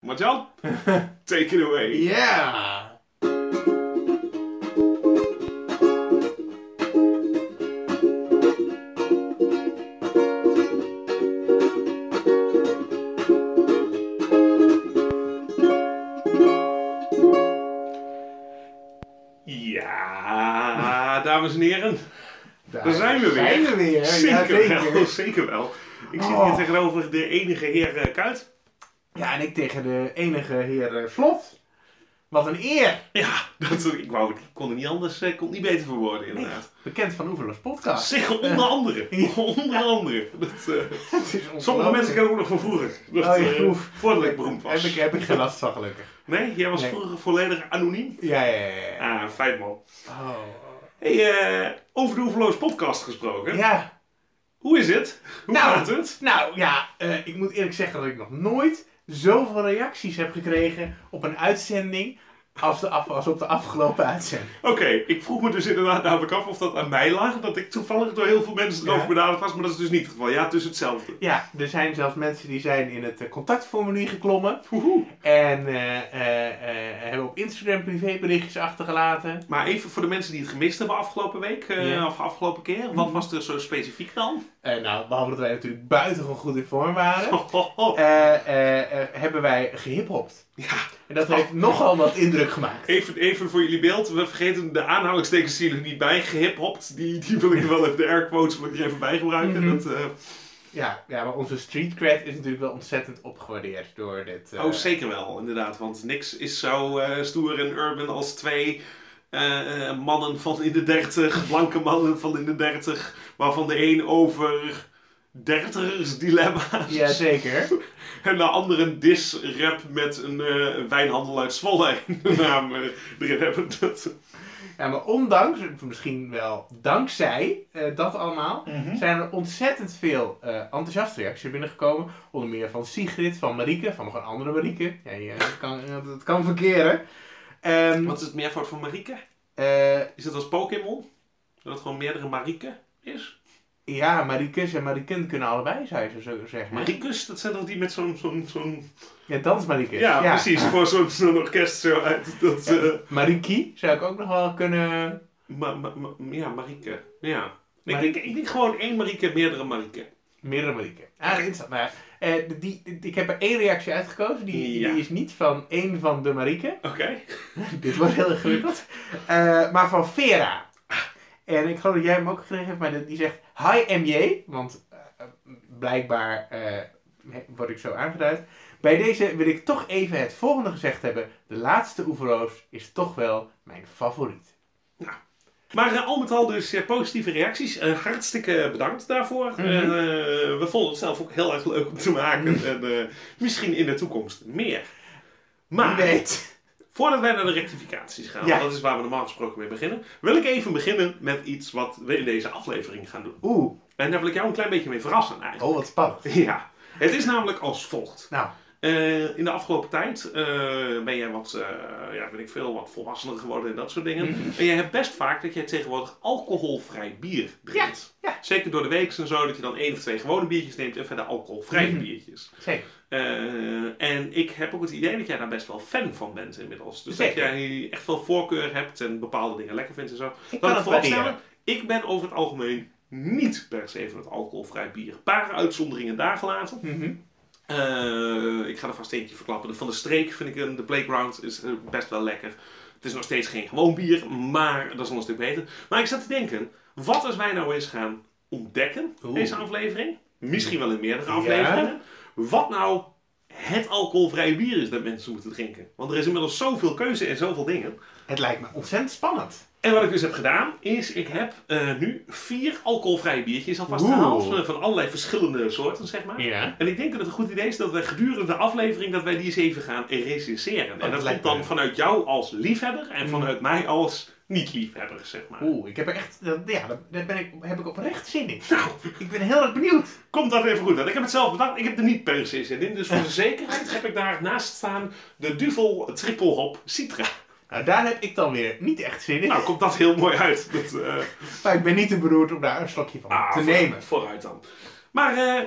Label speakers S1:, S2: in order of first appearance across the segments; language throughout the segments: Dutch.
S1: Marjan, take it away.
S2: Yeah!
S1: Ja, dames en heren. Daar zijn we weer.
S2: Zijn we weer. ja,
S1: Zeker
S2: zeker.
S1: wel, zeker wel. Ik zit
S2: Oh.
S1: hier tegenover de enige heer eh, Kuit.
S2: Ja, en ik tegen de enige heer eh, Slot. Wat een eer.
S1: Ja, dat, ik, wou, ik kon het niet anders, eh, ik kon het niet beter verwoorden inderdaad.
S2: Bekend van Oeverloos Podcast.
S1: Zeg, onder andere.
S2: Ja.
S1: Onder andere. Dat, eh,
S2: Het is
S1: sommige
S2: ongelooflijk.
S1: mensen kennen ook nog van vroeger. Dat,
S2: Oh, ja,
S1: eh,
S2: oef.
S1: voordat ik beroemd was.
S2: Heb ik, heb ik geen last van, gelukkig.
S1: Nee, jij was
S2: Nee.
S1: vroeger volledig anoniem.
S2: Ja, ja, ja. ja.
S1: Ah, fijn man.
S2: Oh.
S1: Hey, eh, over de Oeverloos podcast gesproken.
S2: Ja.
S1: Hoe is het? Hoe
S2: Nou.
S1: gaat het?
S2: Nou ja, eh, ik moet eerlijk zeggen dat ik nog nooit zoveel reacties heb gekregen op een uitzending als, de af, als op de afgelopen uitzending.
S1: Oké, ik vroeg me dus inderdaad namelijk af of dat aan mij lag. Dat ik toevallig door heel veel mensen
S2: Ja.
S1: erover benaderd was. Maar dat is dus niet het geval. Ja, het is hetzelfde.
S2: Ja, er zijn zelfs mensen die zijn in het eh, contactformulier geklommen
S1: Woehoe.
S2: en eh, eh, eh, hebben op Instagram privéberichtjes achtergelaten.
S1: Maar even voor de mensen die het gemist hebben afgelopen week. eh,
S2: Ja. Mhm.
S1: Of afgelopen keer. Wat was er zo specifiek dan?
S2: Eh, nou, behalve dat wij natuurlijk buitengewoon goed in vorm waren,
S1: Ho, ho, ho.
S2: eh, eh, eh, hebben wij gehiphopt.
S1: Ja.
S2: En dat heeft nogal wat indruk gemaakt.
S1: Even, even voor jullie beeld. We vergeten de aanhalingstekens die er niet bij gehiphopt. Die, die wil ik er wel even, de air quotes wil ik er even bij gebruiken.
S2: Mhm.
S1: dat, eh,
S2: Ja, ja, maar onze street cred is natuurlijk wel ontzettend opgewaardeerd door dit. eh,
S1: Oh, zeker wel, inderdaad. Want niks is zo eh, stoer en urban als twee eh, eh, mannen van in de dertig, blanke mannen van in de dertig, waarvan de een over dertigers dilemma's
S2: Ja, zeker.
S1: en de andere een dis-rap met een eh, wijnhandel uit Zwolle in de naam eh, erin hebben. Dat...
S2: Ja, maar ondanks, of misschien wel dankzij eh, dat allemaal,
S1: Hm?
S2: zijn er ontzettend veel eh, enthousiaste reacties binnengekomen. Onder meer van Sigrid, van Marieke, van nog een andere Marieke. Ja, je- dat, kan, eh, dat kan verkeren. Ehm,
S1: Wat is het meervoud van Marieke?
S2: eh,
S1: Is dat als Pokémon? Dat het gewoon meerdere Marieke is?
S2: ja, Mariekes en Marieken kunnen allebei, zou je zo zeggen.
S1: Mariekes, dat zijn toch die met zo'n... zo'n zo'n
S2: Ja, dans Mariekes.
S1: ja, precies. Voor zo'n zo'n orkest zo uit. Dat,
S2: Ja.
S1: eh,
S2: Marieke zou ik ook nog wel kunnen...
S1: Ma ma ma- ja, Marieke. Ja. Ik,
S2: Marieke.
S1: denk, ik denk gewoon één Marieke, meerdere Marieke.
S2: Meerdere Marieke. Ah, interessant. Nou, ja, eh, die, die- ik heb er één reactie uitgekozen. Die,
S1: Ja.
S2: die is niet van één van de Marieken.
S1: Oké.
S2: Dit wordt heel ingewikkeld. Eh, maar van Vera. En ik geloof dat jij hem ook gekregen hebt, maar die- die zegt: Hi MJ. Want eh, blijkbaar eh, word ik zo aangeduid. Bij deze wil ik toch even het volgende gezegd hebben: De laatste Oeverloos is toch wel mijn favoriet.
S1: Maar eh, al met al dus eh, positieve reacties. Eh, hartstikke bedankt daarvoor.
S2: Mhm.
S1: En, eh, we vonden het zelf ook heel erg leuk om te maken. En eh, misschien in de toekomst meer. Maar
S2: Wie weet.
S1: voordat wij naar de rectificaties gaan,
S2: Ja.
S1: want dat is waar we normaal gesproken mee beginnen, wil ik even beginnen met iets wat we in deze aflevering gaan doen.
S2: Oeh,
S1: En daar wil ik jou een klein beetje mee verrassen eigenlijk.
S2: oh wat spannend.
S1: Ja, het is namelijk als volgt.
S2: Nou,
S1: Eh, in de afgelopen tijd eh, ben jij wat, eh, ja, weet ik veel, wat volwassener geworden en dat soort dingen.
S2: Mhm.
S1: En jij hebt best vaak dat jij tegenwoordig alcoholvrij bier drinkt.
S2: Ja, ja.
S1: Zeker door de week en zo, dat je dan één of twee gewone biertjes neemt en verder alcoholvrije
S2: Mhm.
S1: biertjes.
S2: zeker.
S1: Eh, en ik heb ook het idee dat jij daar best wel fan van bent inmiddels. Dus
S2: Zeker.
S1: dat jij echt wel voorkeur hebt en bepaalde dingen lekker vindt en zo.
S2: Ik
S1: Laat
S2: kan
S1: ik
S2: het
S1: vooropstellen,
S2: waarderen.
S1: ik ben over het algemeen niet per se van het alcoholvrij bier. Een paar uitzonderingen daar gelaten.
S2: Mhm.
S1: Eh, ik ga er vast eentje verklappen. De Van de Streek vind ik een, de Playground is eh, best wel lekker. Het is nog steeds geen gewoon bier, maar dat is al een stuk beter. Maar ik zat te denken, wat als wij nou eens gaan ontdekken,
S2: Oeh.
S1: deze aflevering? Misschien wel in meerdere
S2: Ja.
S1: afleveringen. Wat nou het alcoholvrije bier is dat mensen moeten drinken. Want er is inmiddels zoveel keuze en zoveel dingen.
S2: Het lijkt me ontzettend spannend.
S1: En wat ik dus heb gedaan, is ik heb eh, nu vier alcoholvrije biertjes alvast
S2: Oeh.
S1: gehaald. eh, Van allerlei verschillende soorten, zeg maar.
S2: Ja.
S1: En ik denk dat het een goed idee is dat wij gedurende de aflevering dat wij die eens even gaan recenseren. en
S2: dat
S1: dat
S2: lijkt
S1: komt dan
S2: me.
S1: vanuit jou als liefhebber en
S2: Mm.
S1: vanuit mij als niet-liefhebber, zeg maar.
S2: Oeh, ik heb er echt. Dat, ja, daar daar ben ik, heb ik oprecht zin in.
S1: Nou,
S2: Ik ben heel erg benieuwd.
S1: komt dat even goed uit. Ik heb het zelf bedacht, ik heb er niet per se zin in. Dus voor de zekerheid heb ik daar naast staan de Duvel Triple Hop Citra.
S2: Nou, daar heb ik dan weer niet echt zin in.
S1: Nou, komt dat heel mooi uit. Dat, eh,
S2: Maar ik ben niet te beroerd om daar een slokje van
S1: ah,
S2: te
S1: vooruit-
S2: nemen.
S1: Vooruit dan. Maar eh,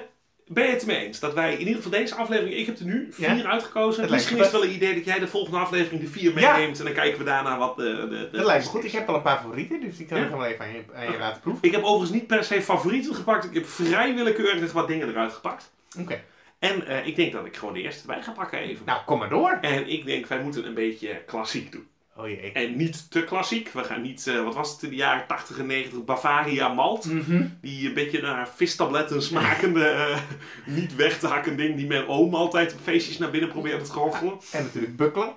S1: Ben je het mee eens dat wij in ieder geval deze aflevering, ik heb er nu vier
S2: Ja.
S1: uitgekozen.
S2: Het lijkt
S1: Misschien
S2: me
S1: is het wel een idee dat jij de volgende aflevering de vier
S2: Ja.
S1: meeneemt en dan kijken we daarna wat de. de, de-
S2: Dat lijkt me goed. Ik heb al een paar favorieten, dus die kan
S1: Ja. Ah.
S2: ik gewoon even aan je, aan je laten proeven.
S1: Ik heb overigens niet per se favorieten gepakt. Ik heb vrij willekeurig wat dingen eruit gepakt.
S2: Oké.
S1: En eh, ik denk dat ik gewoon de eerste erbij ga pakken even.
S2: Nou, kom maar door.
S1: En ik denk, wij moeten een beetje klassiek doen.
S2: Oh jee.
S1: En niet te klassiek. We gaan niet, eh, wat was het in de jaren 80 en 90, Bavaria malt.
S2: Mhm.
S1: Die een beetje naar vistabletten smakende, eh, niet weg te hakken ding die mijn oom altijd op feestjes naar binnen probeerde te goochelen.
S2: En natuurlijk bukkelen.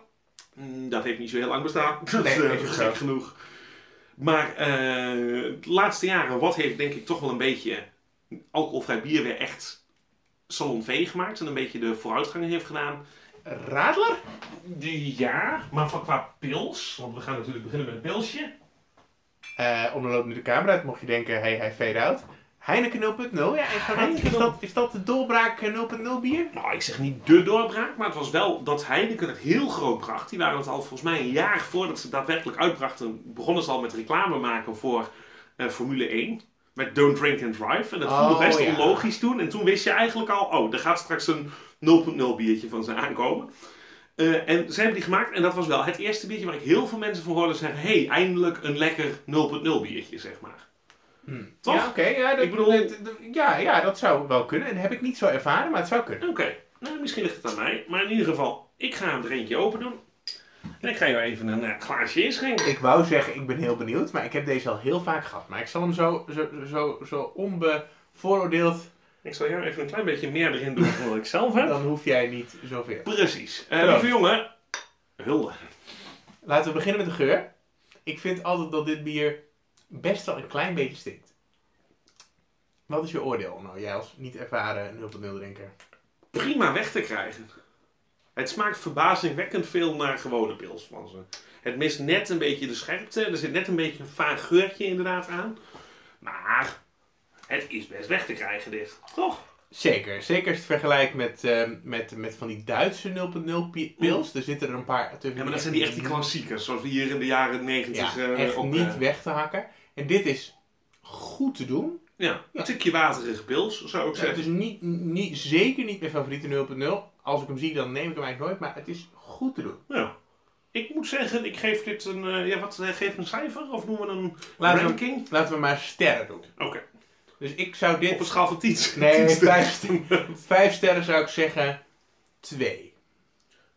S1: Mm, Dat heeft niet zo heel lang bestaan.
S2: Nee,
S1: dat is
S2: nee,
S1: eh,
S2: dat is
S1: gek
S2: zo.
S1: genoeg. Maar eh, de laatste jaren, wat heeft denk ik toch wel een beetje alcoholvrij bier weer echt salonvee gemaakt en een beetje de vooruitgang heeft gedaan?
S2: Radler?
S1: Ja, maar van qua pils, want we gaan natuurlijk beginnen met een pilsje.
S2: Eh om de loop nu de camera uit, mocht je denken, hey, hij fade out. Heineken 0.0, ja. ik ga dat-
S1: Heineken
S2: Is dat, is dat de doorbraak eh, 0.0 bier?
S1: Nou, ik zeg niet de doorbraak, maar het was wel dat Heineken het heel groot bracht. Die waren het al volgens mij een jaar voordat ze het daadwerkelijk uitbrachten, begonnen ze al met reclame maken voor eh, Formule 1. Met Don't Drink and Drive. En dat voelde
S2: Oh,
S1: best
S2: ja.
S1: onlogisch toen. En toen wist je eigenlijk al, oh, er gaat straks een 0.0 biertje van ze aankomen. Eh, en ze hebben die gemaakt en dat was wel het eerste biertje waar ik heel veel mensen van hoorde zeggen... hey, eindelijk een lekker 0.0 biertje, zeg maar. Toch?
S2: Ja, oké. ja, dat-
S1: Ik bedoel-
S2: dat- dat- ja, ja, dat zou wel kunnen. En heb ik niet zo ervaren, maar het zou kunnen.
S1: Oké, nou misschien ligt het aan mij. Maar in ieder geval, ik ga er eentje open doen. En ik ga jou even een eh, glaasje inschenken.
S2: Ik wou zeggen, ik ben heel benieuwd, maar ik heb deze al heel vaak gehad. Maar ik zal hem zo, zo, zo, zo onbevooroordeeld,
S1: Ik zal jou even een klein beetje meer erin doen dan wat ik zelf heb.
S2: dan hoef jij niet zoveel.
S1: Precies. Eh,
S2: Proost.
S1: lieve jongen, hulde.
S2: Laten we beginnen met de geur. Ik vind altijd dat dit bier best wel een klein beetje stinkt. Wat is je oordeel nou, jij als niet ervaren 0.0 drinker?
S1: Prima weg te krijgen. Het smaakt verbazingwekkend veel naar gewone pils van ze. Het mist net een beetje de scherpte. Er zit net een beetje een vaag geurtje inderdaad aan. Maar het is best weg te krijgen dit. Toch?
S2: Zeker, zeker als je het vergelijkt met, ehm, met, met van die Duitse 0.0 pi- pils. Er zitten er een paar tussen.
S1: Ja, maar dat zijn die echt die klassiekers. Zoals we hier in de jaren negentig
S2: Ja, echt
S1: ook
S2: niet
S1: eh,
S2: weg te hakken. En dit is goed te doen.
S1: Ja, een stukje waterige pils, zou ik
S2: Ja, het
S1: zeggen.
S2: is niet, niet, zeker niet mijn favoriete 0.0. Als ik hem zie, dan neem ik hem eigenlijk nooit. Maar het is goed te doen.
S1: Ja. Ik moet zeggen, ik geef dit een... eh, ja, wat eh, geef een cijfer? Of noemen we een
S2: Laten we-
S1: ranking?
S2: Laten we maar sterren doen.
S1: Oké,
S2: Dus ik zou dit...
S1: op een schaal van 10.
S2: Nee,
S1: 10
S2: vijf
S1: sterren.
S2: Vijf sterren zou ik zeggen twee.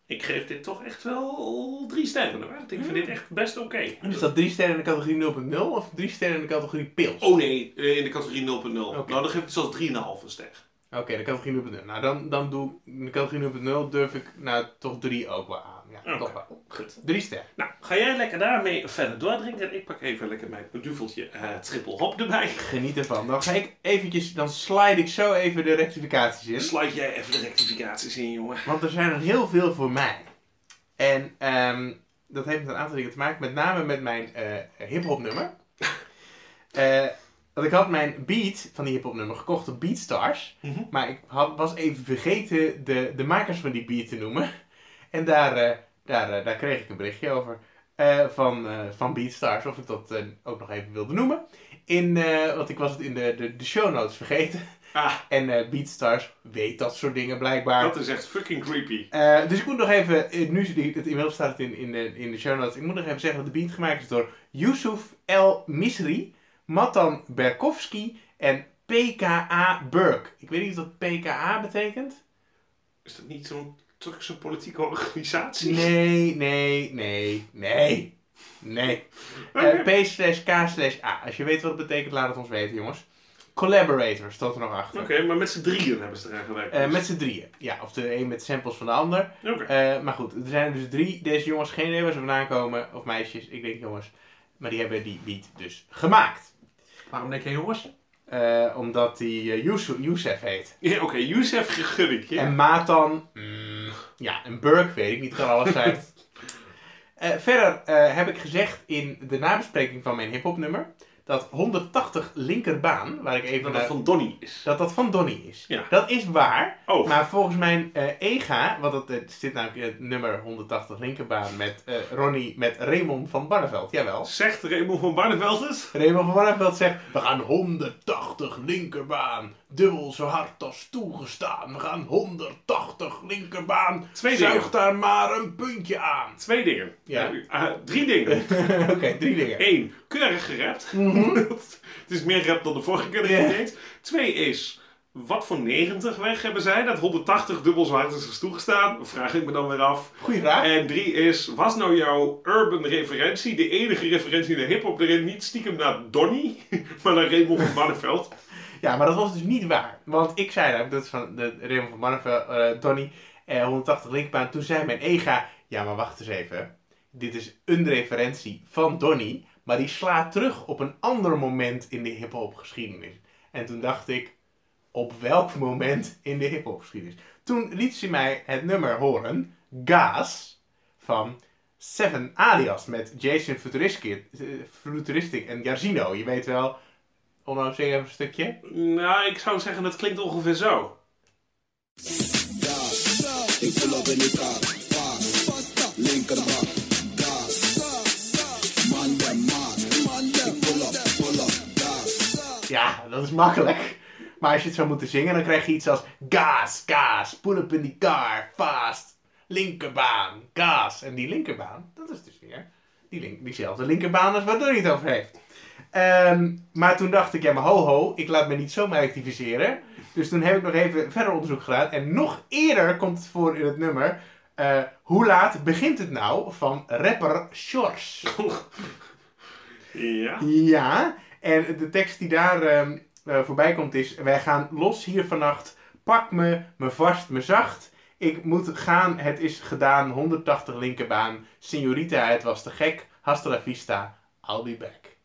S1: Ik geef dit toch echt wel drie sterren. hoor. Ik vind dit echt best oké.
S2: Hmm. En is dat drie sterren in de categorie 0.0 of drie sterren in de categorie pils?
S1: Oh nee, eh, in de categorie 0.0.
S2: Oké.
S1: Nou, dan geef ik zelfs 3,5 een ster.
S2: Oké, de categorie 0.0. Nou, dan, dan doe ik in de categorie 0.0 durf ik nou toch drie ook wel aan. Ja,
S1: Oké.
S2: toch wel.
S1: Goed.
S2: Drie sterren.
S1: Nou, ga jij lekker daarmee verder doordrinken. En ik pak even lekker mijn duveltje eh triple hop erbij.
S2: Geniet ervan. Dan ga ik eventjes, dan slide ik zo even de rectificaties in.
S1: Sluit jij even de rectificaties in, jongen.
S2: Want er zijn er heel veel voor mij. En ehm, dat heeft met een aantal dingen te maken. Met name met mijn eh hip-hop nummer. Eh, want ik had mijn beat van die hip-hop nummer gekocht op Beatstars.
S1: Mhm.
S2: Maar ik had, was even vergeten de, de makers van die beat te noemen. En daar, eh, daar, eh, daar kreeg ik een berichtje over. eh, van, eh, van Beatstars. Of ik dat eh, ook nog even wilde noemen. In, eh, want ik was het in de, de, de show notes vergeten.
S1: Ah,
S2: En eh, Beatstars weet dat soort dingen blijkbaar.
S1: dat is echt fucking creepy.
S2: Eh, dus ik moet nog even, eh, nu het inmiddels staat het in, in, de, in de show notes, ik moet nog even zeggen dat de beat gemaakt is door Yusuf El Misri, Matan Berkowski en PKA Burk. Ik weet niet wat PKA betekent.
S1: Is dat niet zo'n Turkse politieke organisatie?
S2: Nee, nee, nee, nee, nee. Eh,
S1: Oké.
S2: P slash K slash A. Als je weet wat het betekent, laat het ons weten jongens. Collaborators, staat er nog achter.
S1: Oké, maar met z'n drieën hebben ze eraan gewerkt.
S2: Eh, met z'n drieën. Ja, of de een met samples van de ander.
S1: Oké.
S2: Eh, maar goed, er zijn er dus drie. Deze jongens, geen idee waar ze vandaan komen. Of meisjes, ik denk jongens. Maar die hebben die beat dus gemaakt.
S1: Waarom denk je jongens?
S2: Eh, omdat die eh, Yusuf, Youssef heet.
S1: Ja, Oké, Youssef gun ik je.
S2: En Matan. mm, ja, en Burke, weet ik niet, kan alles zijn. Eh, verder eh, heb ik gezegd in de nabespreking van mijn hip-hop nummer. dat 180 linkerbaan, waar ik even
S1: Dat dat
S2: naar-
S1: van Donnie is.
S2: dat dat van Donnie is.
S1: Ja.
S2: Dat is waar,
S1: Oh,
S2: maar volgens mijn eh, EGA, want dat, het zit namelijk in het nummer 180 linkerbaan met eh, Ronnie, met Raymond van Barneveld, jawel.
S1: zegt Raymond van Barneveld het?
S2: Raymond van Barneveld zegt, we gaan 180 linkerbaan, dubbel zo hard als toegestaan. We gaan 180 linkerbaan,
S1: Twee
S2: zuig
S1: dingen.
S2: daar maar een puntje aan.
S1: Twee dingen.
S2: Ja.
S1: Eh, drie dingen.
S2: Oké, drie dingen.
S1: Eén, keurig gerept. het is meer rap dan de vorige keer dat je
S2: Mhm. Ja.
S1: het deed. Twee is, wat voor 90 weg hebben zij? Dat 180 dubbel zo hard is als toegestaan? Vraag ik me dan weer af.
S2: Goeie vraag.
S1: En drie is, was nou jouw urban referentie, de enige referentie naar hip-hop erin, niet stiekem naar Donnie, maar naar Raymond van Barneveld?
S2: Ja, maar dat was dus niet waar. Want ik zei dat, dat is van de Raymond van Barneveld, eh Donnie, eh, 180 linkbaan. Toen zei mijn ega, ja maar wacht eens even. Dit is een referentie van Donnie, maar die slaat terug op een ander moment in de hip-hop geschiedenis. En toen dacht ik, op welk moment in de hip-hop geschiedenis? Toen liet ze mij het nummer horen, Gaas, van Seven Alias met Jason Futuristic, eh, Futuristic en Garzino. Je weet wel, ondanks zing even een stukje.
S1: Nou, ik zou zeggen, dat klinkt ongeveer zo.
S3: Ik voel op in elkaar, vaar, linkerbak, daar. Man de maat, man de pull up, pull up, daar.
S2: Ja, dat is makkelijk. Maar als je het zou moeten zingen, dan krijg je iets als gaas, gaas, pull up in die car, fast, linkerbaan, gaas. En die linkerbaan, dat is dus weer die link, diezelfde linkerbaan als waar Donnie het over heeft. Ehm, maar toen dacht ik, ja maar ho ho, ik laat me niet zomaar activiseren. Dus toen heb ik nog even verder onderzoek gedaan. En nog eerder komt het voor in het nummer, eh, hoe laat begint het nou van rapper Shores.
S1: Ja.
S2: Ja, en de tekst die daar ehm, eh, voorbij komt is: Wij gaan los hier vannacht. Pak me, me vast, me zacht. Ik moet gaan, het is gedaan. 180 linkerbaan. Signorita, het was te gek. Hasta la vista, I'll be back.